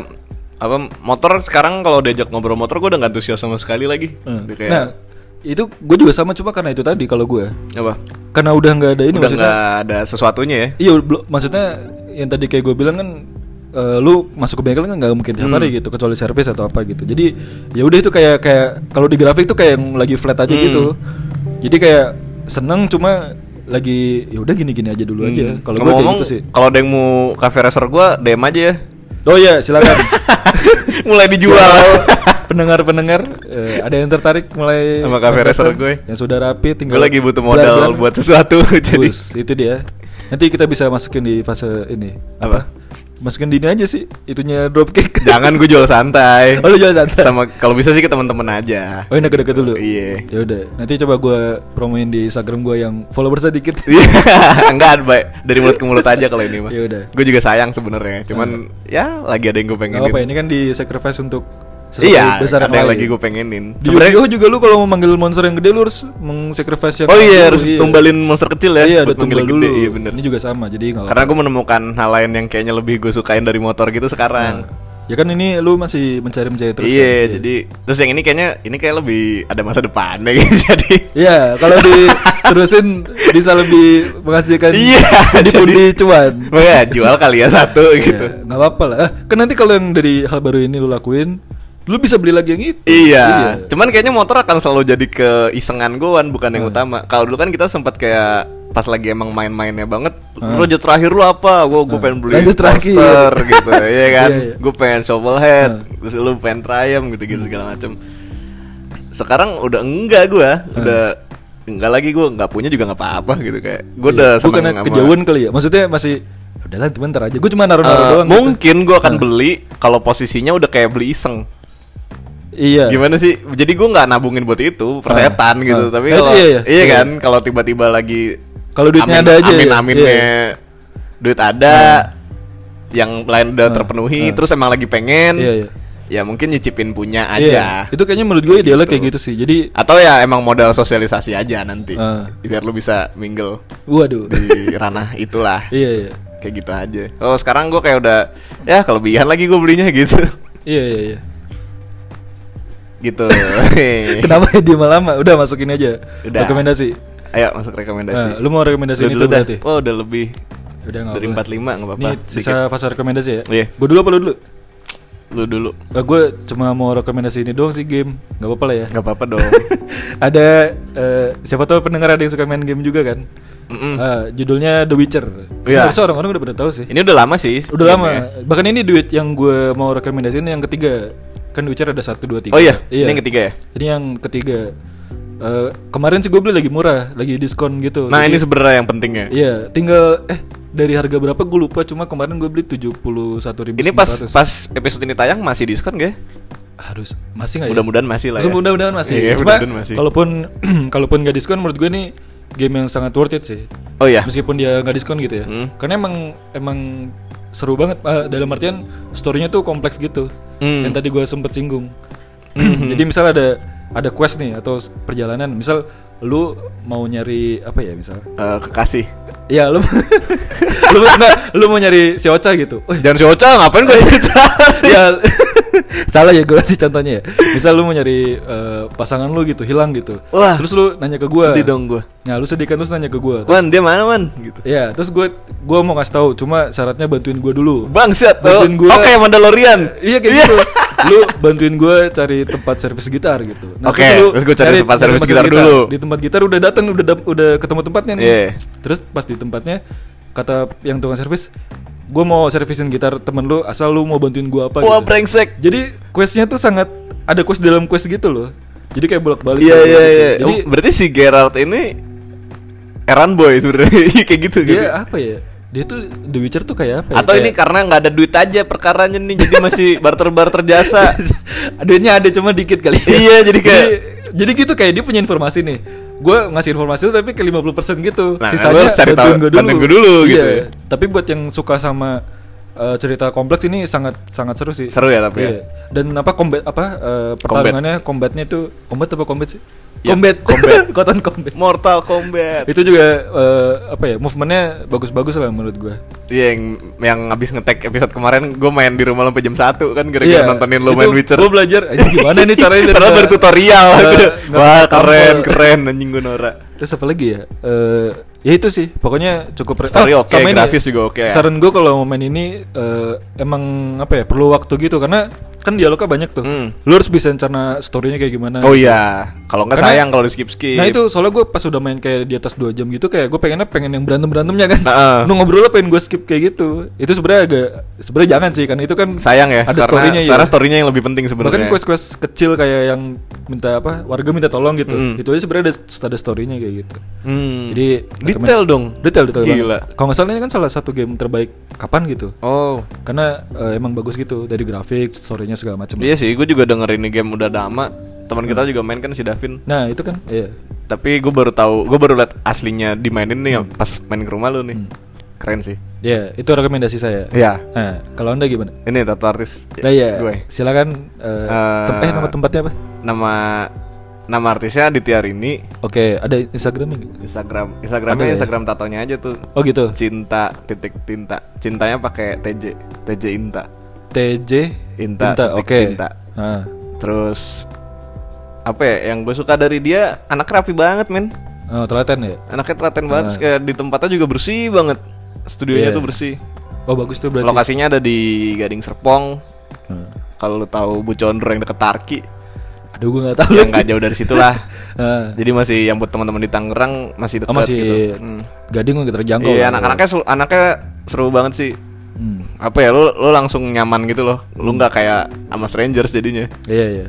Speaker 1: apa motor sekarang kalau diajak ngobrol motor gue udah nggak antusias sama sekali lagi.
Speaker 2: Hmm.
Speaker 1: Udah kayak,
Speaker 2: Nah, itu gue juga sama cuma karena itu tadi kalau gue.
Speaker 1: apa?
Speaker 2: Karena udah nggak ada ini
Speaker 1: udah
Speaker 2: maksudnya.
Speaker 1: nggak ada sesuatunya ya.
Speaker 2: Iya, bel- maksudnya yang tadi kayak gue bilang kan eh, lu masuk ke bengkel kan nggak mungkin tiap
Speaker 1: Hmm.
Speaker 2: hari gitu kecuali servis atau apa gitu. Jadi ya udah itu kayak kayak kalau di grafik tuh kayak yang lagi flat aja
Speaker 1: Hmm.
Speaker 2: gitu. Jadi kayak seneng cuma lagi ya udah gini-gini aja dulu aja.
Speaker 1: Hmm.
Speaker 2: Kalau gue kayak
Speaker 1: ngomong
Speaker 2: gitu sih.
Speaker 1: kalau ada yang mau cafe racer gue DM aja ya.
Speaker 2: Oh iya, silakan.
Speaker 1: Mulai
Speaker 2: Kalau
Speaker 1: dijual.
Speaker 2: pendengar-pendengar eh, ada yang tertarik mulai
Speaker 1: Sama cafe racer gue.
Speaker 2: Yang sudah rapi tinggal
Speaker 1: gue lagi butuh
Speaker 2: gelar-gelar.
Speaker 1: modal buat sesuatu jadi.
Speaker 2: Bus, itu dia. Nanti kita bisa masukin di fase ini.
Speaker 1: Apa?
Speaker 2: Masukin di ini aja sih, itunya dropkick.
Speaker 1: Jangan gue jual santai.
Speaker 2: Oh, lu jual santai.
Speaker 1: Sama kalau bisa sih ke teman-teman aja.
Speaker 2: Oh, ini deket-deket dulu.
Speaker 1: Iya.
Speaker 2: Ya udah, nanti coba gue promoin di Instagram gue yang followersnya dikit.
Speaker 1: Iya. Enggak, baik. Dari mulut ke mulut aja kalau ini mah.
Speaker 2: Yaudah.
Speaker 1: Gue juga sayang sebenarnya. Cuman ya lagi ada yang gue pengenin.
Speaker 2: Gak apa ini kan di sacrifice untuk sesuatu
Speaker 1: iya,
Speaker 2: besar
Speaker 1: ada yang
Speaker 2: lain.
Speaker 1: lagi gue pengenin.
Speaker 2: Di
Speaker 1: Sebenarnya
Speaker 2: Yu-Gi-Oh juga lu kalau mau manggil monster yang gede lu harus mengsacrifice yang
Speaker 1: Oh
Speaker 2: kecil,
Speaker 1: iya, harus tumbalin monster kecil ya
Speaker 2: Iya,
Speaker 1: buat
Speaker 2: udah tumbal
Speaker 1: manggil
Speaker 2: dulu.
Speaker 1: gede. Iya bener.
Speaker 2: Ini juga sama, jadi nggak
Speaker 1: Karena gue menemukan hal lain yang kayaknya lebih gue sukain dari motor gitu sekarang.
Speaker 2: Ya kan ini lu masih mencari-mencari terus. kan?
Speaker 1: iya, jadi terus yang ini kayaknya ini kayak lebih ada masa depannya gitu. Jadi
Speaker 2: Iya, kalau diterusin bisa lebih menghasilkan
Speaker 1: Iya,
Speaker 2: pundi
Speaker 1: jadi-
Speaker 2: cuan.
Speaker 1: Makanya jual kali ya satu gitu.
Speaker 2: Iya, nggak apa-apa lah. Eh, Kan nanti kalau yang dari hal baru ini lu lakuin, lu bisa beli lagi yang itu.
Speaker 1: Iya. Cuman kayaknya motor akan selalu jadi keisengan goan bukan
Speaker 2: Hmm.
Speaker 1: yang utama. Kalau dulu kan kita sempat kayak pas lagi emang main-mainnya banget,
Speaker 2: Hmm.
Speaker 1: project terakhir lu apa? Gua gua pengen beli
Speaker 2: Lanjut terakhir.
Speaker 1: Sportster gitu, iya kan?
Speaker 2: Iya, iya.
Speaker 1: Gue pengen shovel head,
Speaker 2: Hmm.
Speaker 1: terus lu pengen Triumph gitu-gitu segala macem Sekarang udah enggak gua,
Speaker 2: Hmm.
Speaker 1: udah enggak lagi gua nggak punya juga nggak apa-apa gitu kayak. Gua
Speaker 2: Iya.
Speaker 1: udah
Speaker 2: Gua
Speaker 1: seneng
Speaker 2: karena
Speaker 1: sama-
Speaker 2: kejauhan kali ya. Maksudnya masih "Ya udahlah cuma ntar aja. Gue cuma naruh-naruh
Speaker 1: Eh,
Speaker 2: doang. gitu.
Speaker 1: mungkin gua akan beli kalau posisinya udah kayak beli iseng.
Speaker 2: Iya.
Speaker 1: Gimana sih? Jadi gue nggak nabungin buat itu persetan
Speaker 2: Ah,
Speaker 1: gitu.
Speaker 2: ah.
Speaker 1: Tapi
Speaker 2: Eh,
Speaker 1: kalau
Speaker 2: iya,
Speaker 1: iya,
Speaker 2: iya. Iya.
Speaker 1: kan, kalau tiba-tiba lagi
Speaker 2: Kalau duitnya ada aja.
Speaker 1: Amin
Speaker 2: ya.
Speaker 1: aminnya
Speaker 2: Iya.
Speaker 1: duit ada, yang lain udah
Speaker 2: Ah,
Speaker 1: terpenuhi,
Speaker 2: ah.
Speaker 1: terus emang lagi pengen,
Speaker 2: Iya, iya.
Speaker 1: ya mungkin nyicipin punya aja.
Speaker 2: Iya. Itu kayaknya menurut gue idealnya kayak gitu sih. Jadi
Speaker 1: Atau ya emang modal sosialisasi aja nanti,
Speaker 2: Ah.
Speaker 1: biar lu bisa mingle
Speaker 2: waduh.
Speaker 1: di ranah itulah.
Speaker 2: iya, iya.
Speaker 1: Kayak gitu aja. Kalau sekarang gue kayak udah ya kelebihan lagi gue belinya gitu.
Speaker 2: Iya, iya, iya.
Speaker 1: gitu.
Speaker 2: Kenapa ya dia lama? Udah masukin aja.
Speaker 1: Udah.
Speaker 2: Rekomendasi.
Speaker 1: Ayo masuk rekomendasi.
Speaker 2: Nah, lu mau rekomendasi
Speaker 1: Lu
Speaker 2: ini
Speaker 1: dulu
Speaker 2: tuh
Speaker 1: dah.
Speaker 2: berarti?
Speaker 1: Wah, Oh, udah lebih
Speaker 2: Udah nggak
Speaker 1: dari
Speaker 2: apa-apa.
Speaker 1: 45 nggak apa-apa.
Speaker 2: Ini sisa
Speaker 1: Dikit.
Speaker 2: fase rekomendasi ya.
Speaker 1: Iya.
Speaker 2: Gue dulu apa lu dulu?
Speaker 1: Lu dulu.
Speaker 2: gue cuma mau rekomendasi ini doang sih game. Gak apa-apa lah ya.
Speaker 1: Gak apa-apa dong.
Speaker 2: ada eh, siapa tahu pendengar ada yang suka main game juga kan?
Speaker 1: Mm-mm.
Speaker 2: Eh, judulnya The Witcher.
Speaker 1: Hmm. Iya.
Speaker 2: Harusnya orang-orang udah pada tahu sih.
Speaker 1: Ini udah lama sih.
Speaker 2: Udah lama.
Speaker 1: gamenya.
Speaker 2: Bahkan ini duit yang gue mau rekomendasiin yang ketiga. Kan The Witcher ada satu dua tiga.
Speaker 1: Oh iya, ini yang ketiga ya?
Speaker 2: Ini yang ketiga. Eh, kemarin sih gue beli lagi murah, lagi diskon gitu.
Speaker 1: Nah, ini
Speaker 2: Jadi-
Speaker 1: sebenarnya yang pentingnya.
Speaker 2: Iya, tinggal eh dari harga berapa gue lupa. Cuma kemarin gue beli tujuh puluh satu ribu.
Speaker 1: Ini pas pas episode ini tayang masih diskon gak? ya?
Speaker 2: harus masih nggak ya?
Speaker 1: Mudah-mudahan masih lah. ya.
Speaker 2: Mudah-mudahan masih.
Speaker 1: Iya,
Speaker 2: Cuma
Speaker 1: mudah-mudahan masih.
Speaker 2: kalaupun kalaupun nggak diskon, menurut gue nih game yang sangat worth it sih.
Speaker 1: Oh iya.
Speaker 2: Meskipun dia nggak diskon gitu ya.
Speaker 1: Hmm.
Speaker 2: Karena emang emang seru banget eh, dalam artian story-nya tuh kompleks gitu.
Speaker 1: Hmm.
Speaker 2: Yang tadi gue sempet singgung. Jadi misal ada ada quest nih atau perjalanan, misal lu mau nyari apa ya misal?
Speaker 1: Eh, kekasih.
Speaker 2: Ya lu lu, nggak, lu mau nyari si Ocha gitu. Wih,
Speaker 1: Jangan si Ocha, ngapain gue
Speaker 2: ya salah ya gue sih contohnya ya misal lu mau nyari eh, pasangan lu gitu hilang gitu
Speaker 1: Wah.
Speaker 2: terus lu nanya ke gue
Speaker 1: Sedih dong gua.
Speaker 2: nah lu sedih kan terus nanya ke gue
Speaker 1: Wan, dia mana, Wan? Gitu.
Speaker 2: ya terus gue gua mau ngasih tahu cuma syaratnya bantuin gue dulu
Speaker 1: Bangsat tuh.
Speaker 2: Bantuin gua.
Speaker 1: Oke, Mandalorian.
Speaker 2: iya kayak gitu lu bantuin gue cari tempat servis gitar gitu
Speaker 1: Oke, terus gua cari tempat servis gitar dulu.
Speaker 2: di tempat gitar udah datang udah dap- udah ketemu tempatnya nih
Speaker 1: Iya.
Speaker 2: terus pas di tempatnya kata yang tukang servis gue mau servisin gitar temen lu asal lu mau bantuin gue apa
Speaker 1: Wah,
Speaker 2: gitu.
Speaker 1: brengsek.
Speaker 2: Jadi questnya tuh sangat ada quest dalam quest gitu loh. Jadi kayak bolak-balik.
Speaker 1: Iya
Speaker 2: bolak-balik
Speaker 1: iya iya.
Speaker 2: gitu. Jadi
Speaker 1: Oh, Berarti si Geralt ini Eran boy sebenarnya kayak gitu
Speaker 2: dia
Speaker 1: gitu.
Speaker 2: apa ya? Dia tuh The Witcher tuh kayak apa? ya?
Speaker 1: Atau ini
Speaker 2: Kayak-
Speaker 1: karena nggak ada duit aja perkaranya nih jadi masih barter-barter jasa.
Speaker 2: duitnya ada cuma dikit kali. ya.
Speaker 1: Iya, jadi kayak-
Speaker 2: jadi, jadi gitu kayak dia punya informasi nih. Gue ngasih informasi itu tapi ke 50% gitu.
Speaker 1: Nah, lu harus cari tahu-
Speaker 2: bantuin gua Iya.
Speaker 1: bantuin gua dulu, gitu ya.
Speaker 2: Tapi buat yang suka sama eh, cerita kompleks ini sangat sangat seru sih.
Speaker 1: Seru ya, tapi ya.
Speaker 2: Iya. Dan apa combat apa eh, pertarungannya combatnya itu combat apa combat sih?
Speaker 1: Ya,
Speaker 2: Combat,
Speaker 1: combat.
Speaker 2: Cotton combat.
Speaker 1: Mortal Kombat.
Speaker 2: itu juga eh, apa ya movementnya bagus-bagus lah menurut gue
Speaker 1: Iya yang yang abis ngetek episode kemarin gue main di rumah lo sampai jam 1 kan gara-gara nontonin lo main Witcher.
Speaker 2: gue Iya, belajar "Anjing, gimana nih caranya dari
Speaker 1: Padahal
Speaker 2: nggak-
Speaker 1: bertutorial.
Speaker 2: nggak-
Speaker 1: Gua,
Speaker 2: nggak
Speaker 1: Wah
Speaker 2: tampol."
Speaker 1: keren keren anjing gue Nora.
Speaker 2: terus apa lagi ya Eh, ya itu sih pokoknya cukup re- Oh,
Speaker 1: Story oke,
Speaker 2: sama ini.
Speaker 1: grafis juga oke.
Speaker 2: saran gue kalau mau main ini eh, emang apa ya perlu waktu gitu karena kan dialognya banyak tuh
Speaker 1: Hmm.
Speaker 2: lu harus bisa cerna storynya kayak gimana
Speaker 1: Oh iya, kalau nggak
Speaker 2: Karena-
Speaker 1: sayang kalau di skip skip.
Speaker 2: Nah itu soalnya gue pas udah main kayak di atas 2 jam gitu kayak gue pengennya pengen yang berantem berantemnya kan.
Speaker 1: Heeh.
Speaker 2: Lu ngobrol pengen gue skip kayak gitu. Itu sebenarnya agak sebenarnya jangan sih karena itu kan
Speaker 1: sayang ya
Speaker 2: Ada
Speaker 1: karena
Speaker 2: storynya iya.
Speaker 1: secara storynya yang lebih penting
Speaker 2: Bahkan
Speaker 1: sebenarnya.
Speaker 2: quest-quest kecil kayak yang minta apa warga minta tolong gitu.
Speaker 1: Mm.
Speaker 2: Itu aja sebenarnya ada, ada storynya kayak gitu.
Speaker 1: Hmm.
Speaker 2: Jadi
Speaker 1: detail
Speaker 2: rekomen-
Speaker 1: dong.
Speaker 2: Detail detail. banget.
Speaker 1: Gila.
Speaker 2: Kalau nggak salah ini kan salah satu game terbaik kapan gitu.
Speaker 1: Oh.
Speaker 2: Karena eh, emang bagus gitu dari grafik, storynya segala macam.
Speaker 1: Iya sih, gue juga dengerin ini game udah lama. Teman kita juga main kan si Davin.
Speaker 2: Nah itu kan, iya.
Speaker 1: Tapi gue baru tahu, gue baru liat aslinya dimainin nih
Speaker 2: Hmm.
Speaker 1: pas main ke rumah lu nih. Keren sih.
Speaker 2: Iya, itu rekomendasi saya.
Speaker 1: Iya.
Speaker 2: Nah, kalau anda gimana?
Speaker 1: Ini tato artis.
Speaker 2: Nah iya,
Speaker 1: Ya, Gue.
Speaker 2: silakan eh,
Speaker 1: Eh,
Speaker 2: tem- eh nama tempatnya apa?
Speaker 1: Nama nama artisnya Aditya Rini.
Speaker 2: Oke, ada Instagramnya nggak?
Speaker 1: Instagram
Speaker 2: Ada
Speaker 1: Instagramnya
Speaker 2: ya?
Speaker 1: Instagram tatonya aja tuh.
Speaker 2: Oh gitu.
Speaker 1: Cinta titik tinta. Cintanya pakai TJ. TJ Inta.
Speaker 2: TJ
Speaker 1: Inta,
Speaker 2: Inta,
Speaker 1: titik
Speaker 2: oke.
Speaker 1: Inta.
Speaker 2: Ah.
Speaker 1: Terus apa ya yang gue suka dari dia anak rapi banget men
Speaker 2: Oh, telaten ya.
Speaker 1: anaknya telaten banget terus kayak di tempatnya juga bersih banget studionya
Speaker 2: Iya.
Speaker 1: tuh bersih
Speaker 2: Oh bagus tuh berarti.
Speaker 1: lokasinya ada di Gading Serpong
Speaker 2: Hmm.
Speaker 1: kalau lu tahu Bu Condro yang deket Tarki
Speaker 2: Aduh gue nggak tahu.
Speaker 1: yang nggak jauh dari situlah
Speaker 2: Ah.
Speaker 1: jadi masih yang buat teman-teman di Tangerang masih
Speaker 2: Oh,
Speaker 1: deket
Speaker 2: masih ya.
Speaker 1: gitu Hmm.
Speaker 2: gading nggak terjangkau.
Speaker 1: iya
Speaker 2: lah.
Speaker 1: anak-anaknya seru, anaknya seru banget sih
Speaker 2: kan. Hmm.
Speaker 1: apa ya lu lu langsung nyaman gitu loh lu nggak kayak sama strangers jadinya
Speaker 2: Iya iya.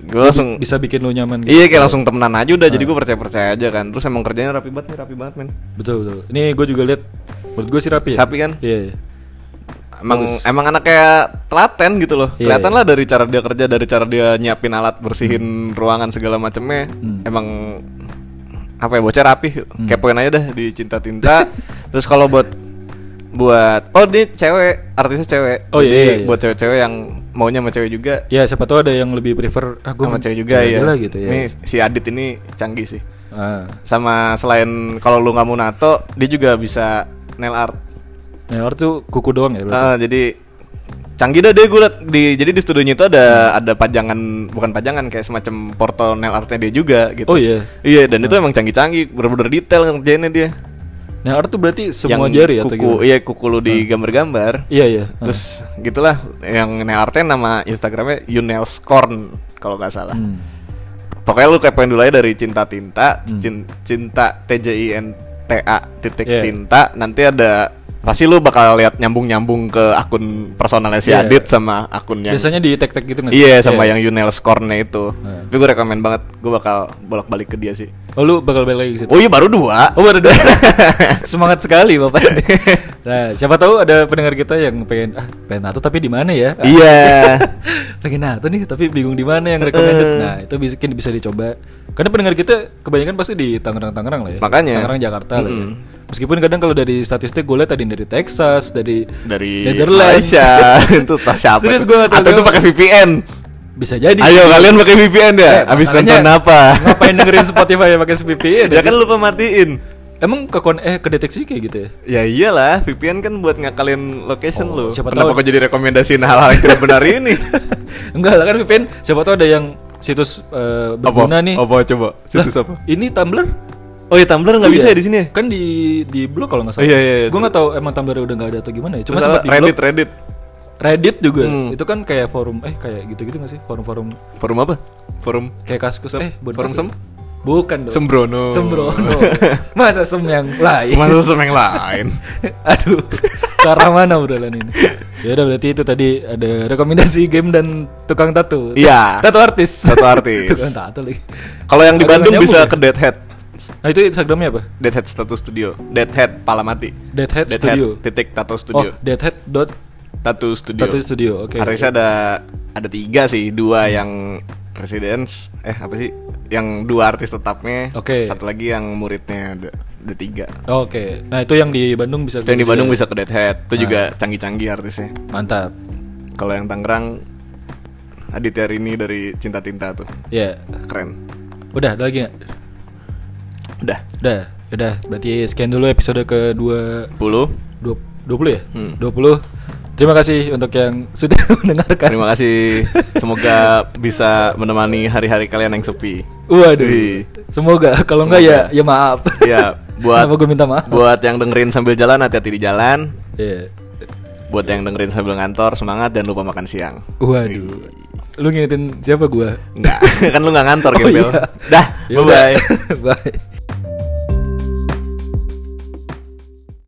Speaker 1: gue langsung
Speaker 2: Bisa Nah. bikin lo nyaman. Gitu.
Speaker 1: iya kayak langsung temenan aja udah jadi gue percaya percaya aja kan terus emang kerjanya rapi banget nih rapi banget men
Speaker 2: Betul betul. Ini gue juga lihat. Menurut gue sih rapi. Ya?
Speaker 1: Rapi kan?
Speaker 2: Iya. iya.
Speaker 1: emang
Speaker 2: Bagus.
Speaker 1: emang anaknya telaten gitu loh.
Speaker 2: Iya,
Speaker 1: Kelihatan
Speaker 2: iya. Hmm.
Speaker 1: lah dari cara dia kerja, dari cara dia nyiapin alat, bersihin ruangan segala macemnya. Emang apa ya bocah rapi.
Speaker 2: Hmm.
Speaker 1: Kepoin aja dah di cinta tinta. Terus kalau buat buat oh dia cewek, artisnya cewek.
Speaker 2: Oh, iya,
Speaker 1: Jadi
Speaker 2: iya, iya.
Speaker 1: buat cewek-cewek yang maunya sama cewek juga
Speaker 2: Ya siapa tahu ada yang lebih prefer ah, gua
Speaker 1: sama
Speaker 2: mau
Speaker 1: cewek juga
Speaker 2: cewek
Speaker 1: ya.
Speaker 2: aja lah gitu ya.
Speaker 1: Ini si Adit ini canggih sih.
Speaker 2: Ah.
Speaker 1: Sama selain kalau lu nggak mau nato, dia juga bisa nail art.
Speaker 2: Nailor tuh kuku doang ya berarti.
Speaker 1: Ah, jadi canggih dah deh gue liat di jadi di studionya itu ada ada pajangan bukan pajangan kayak semacam porto nail artnya dia juga gitu.
Speaker 2: Oh, iya.
Speaker 1: Iya dan itu emang canggih-canggih bener-bener detail ngerjainnya dia.
Speaker 2: Nailor tuh berarti semua
Speaker 1: Yang
Speaker 2: jari
Speaker 1: kuku,
Speaker 2: atau gitu.
Speaker 1: Iya kuku lu digambar-gambar.
Speaker 2: Iya iya. Ah.
Speaker 1: Terus gitulah yang nail artnya nama Instagramnya Yunelscorn kalau nggak salah.
Speaker 2: Hmm.
Speaker 1: Pokoknya lu kepoin dulu aja dari cinta tinta,
Speaker 2: Hmm.
Speaker 1: Cin- cinta T J I N T A titik
Speaker 2: Yeah.
Speaker 1: tinta. Nanti ada pasti lu bakal lihat nyambung-nyambung ke akun personalnya si
Speaker 2: Yeah.
Speaker 1: Adit sama akun yang
Speaker 2: Biasanya di tag-tag gitu nggak sih?
Speaker 1: Iya, sama yang Yunel score-nya itu.
Speaker 2: Yeah.
Speaker 1: Tapi gue rekomen banget, gue bakal bolak-balik ke dia sih.
Speaker 2: Oh lu bakal balik lagi ke situ.
Speaker 1: Oh iya baru dua.
Speaker 2: Oh baru dua. Semangat sekali bapak. Nah siapa tahu ada pendengar kita yang pengen ah pengen nato tapi di mana ya? Ah,
Speaker 1: Iya.
Speaker 2: pengen nato nih tapi bingung di mana yang
Speaker 1: Eh.
Speaker 2: recommended. Nah itu bisa bisa dicoba. Karena pendengar kita kebanyakan pasti di Tangerang-Tangerang lah ya.
Speaker 1: Makanya.
Speaker 2: Tangerang Jakarta lah. Ya.
Speaker 1: Mm-mm.
Speaker 2: Meskipun kadang kalau dari statistik gue lihat tadi dari Texas, dari
Speaker 1: Dari
Speaker 2: Netherlands.
Speaker 1: Malaysia itu tas siapa?
Speaker 2: Serius
Speaker 1: itu?
Speaker 2: gua nggak tahu
Speaker 1: Atau itu
Speaker 2: siapa.
Speaker 1: pakai VPN.
Speaker 2: bisa jadi.
Speaker 1: Ayo kalian pakai VPN ya.
Speaker 2: Eh,
Speaker 1: Abis
Speaker 2: masalahnya,
Speaker 1: nonton apa?
Speaker 2: Ngapain dengerin Spotify ya pakai VPN?
Speaker 1: ya kan lupa matiin.
Speaker 2: Emang ke kon eh kedeteksi kayak gitu ya?
Speaker 1: Ya iyalah, VPN kan buat ngakalin location
Speaker 2: Oh,
Speaker 1: lu.
Speaker 2: siapa
Speaker 1: Kenapa
Speaker 2: tahu-
Speaker 1: kok jadi rekomendasiin hal-hal yang tidak benar ini?
Speaker 2: Enggak lah kan VPN. Siapa tahu ada yang situs eh, berguna nih.
Speaker 1: Apa coba? Situs
Speaker 2: Lah,
Speaker 1: apa?
Speaker 2: Ini Tumblr?
Speaker 1: Oh ya Tumblr nggak
Speaker 2: Iya.
Speaker 1: bisa ya di sini ya?
Speaker 2: Kan di di blog kalau nggak salah.
Speaker 1: Oh, iya, iya, iya.
Speaker 2: Gue nggak tahu emang Tumblr udah nggak ada atau gimana ya.
Speaker 1: Terus
Speaker 2: Cuma sempat
Speaker 1: apa?
Speaker 2: di
Speaker 1: Reddit,
Speaker 2: blog.
Speaker 1: Reddit.
Speaker 2: Reddit juga.
Speaker 1: Hmm.
Speaker 2: Itu kan kayak forum eh kayak gitu-gitu nggak sih? Forum-forum
Speaker 1: Forum apa? Forum
Speaker 2: kayak kaskus eh bukan
Speaker 1: forum
Speaker 2: kaskus.
Speaker 1: sem?
Speaker 2: Bukan dong.
Speaker 1: Sembrono.
Speaker 2: Sembrono. Masa sem yang lain.
Speaker 1: Masa sama yang lain.
Speaker 2: Aduh, ke arah mana obrolan ini? Ya udah berarti itu tadi ada rekomendasi game dan tukang tato.
Speaker 1: Iya.
Speaker 2: Tato artis.
Speaker 1: Tato artis.
Speaker 2: tukang tato lagi.
Speaker 1: Kalau yang di
Speaker 2: Agak
Speaker 1: Bandung
Speaker 2: nyambung
Speaker 1: bisa
Speaker 2: ya?
Speaker 1: ke Deadhead.
Speaker 2: Nah itu Instagramnya apa?
Speaker 1: Deadhead Tattoo Studio. Deadhead Palamati.
Speaker 2: Deadhead,
Speaker 1: Deadhead
Speaker 2: Studio.
Speaker 1: titik Tattoo
Speaker 2: Oh,
Speaker 1: Studio.
Speaker 2: Deadhead dot
Speaker 1: Tattoo Studio.
Speaker 2: Tattoo Studio, oke.
Speaker 1: Artisnya ada ada tiga sih, dua yang residence, eh apa sih? Yang dua artis tetapnya,
Speaker 2: Oke.
Speaker 1: satu lagi yang muridnya ada, ada tiga.
Speaker 2: Oh, Oke, nah itu yang di Bandung bisa.
Speaker 1: Itu yang di
Speaker 2: juga.
Speaker 1: Bandung bisa ke Deadhead, itu juga
Speaker 2: Nah.
Speaker 1: canggih-canggih artisnya.
Speaker 2: Mantap.
Speaker 1: Kalau yang Tangerang, Aditya Rini dari Cinta Tinta tuh,
Speaker 2: Ya,
Speaker 1: keren.
Speaker 2: udah ada lagi nggak?
Speaker 1: Udah,
Speaker 2: Udah, udah. Berarti sekian dulu episode kedua
Speaker 1: 10.
Speaker 2: dua dua puluh ya?
Speaker 1: Hmm.
Speaker 2: Dua puluh. Terima kasih untuk yang sudah mendengarkan.
Speaker 1: Terima kasih, semoga bisa menemani hari-hari kalian yang sepi.
Speaker 2: Waduh.
Speaker 1: Wih.
Speaker 2: Semoga kalau enggak ya ya maaf.
Speaker 1: Ya, buat
Speaker 2: Kenapa gue minta maaf?
Speaker 1: buat yang dengerin sambil jalan hati-hati di jalan.
Speaker 2: Iya.
Speaker 1: Buat yang dengerin sambil ngantor, semangat dan lupa makan siang.
Speaker 2: Waduh. Lu ngingetin siapa gua?
Speaker 1: Enggak, kan lu nggak ngantor,
Speaker 2: Oh,
Speaker 1: Gembel.
Speaker 2: iya.
Speaker 1: Dah,
Speaker 2: Ya
Speaker 1: bye-bye.
Speaker 2: udah. Bye.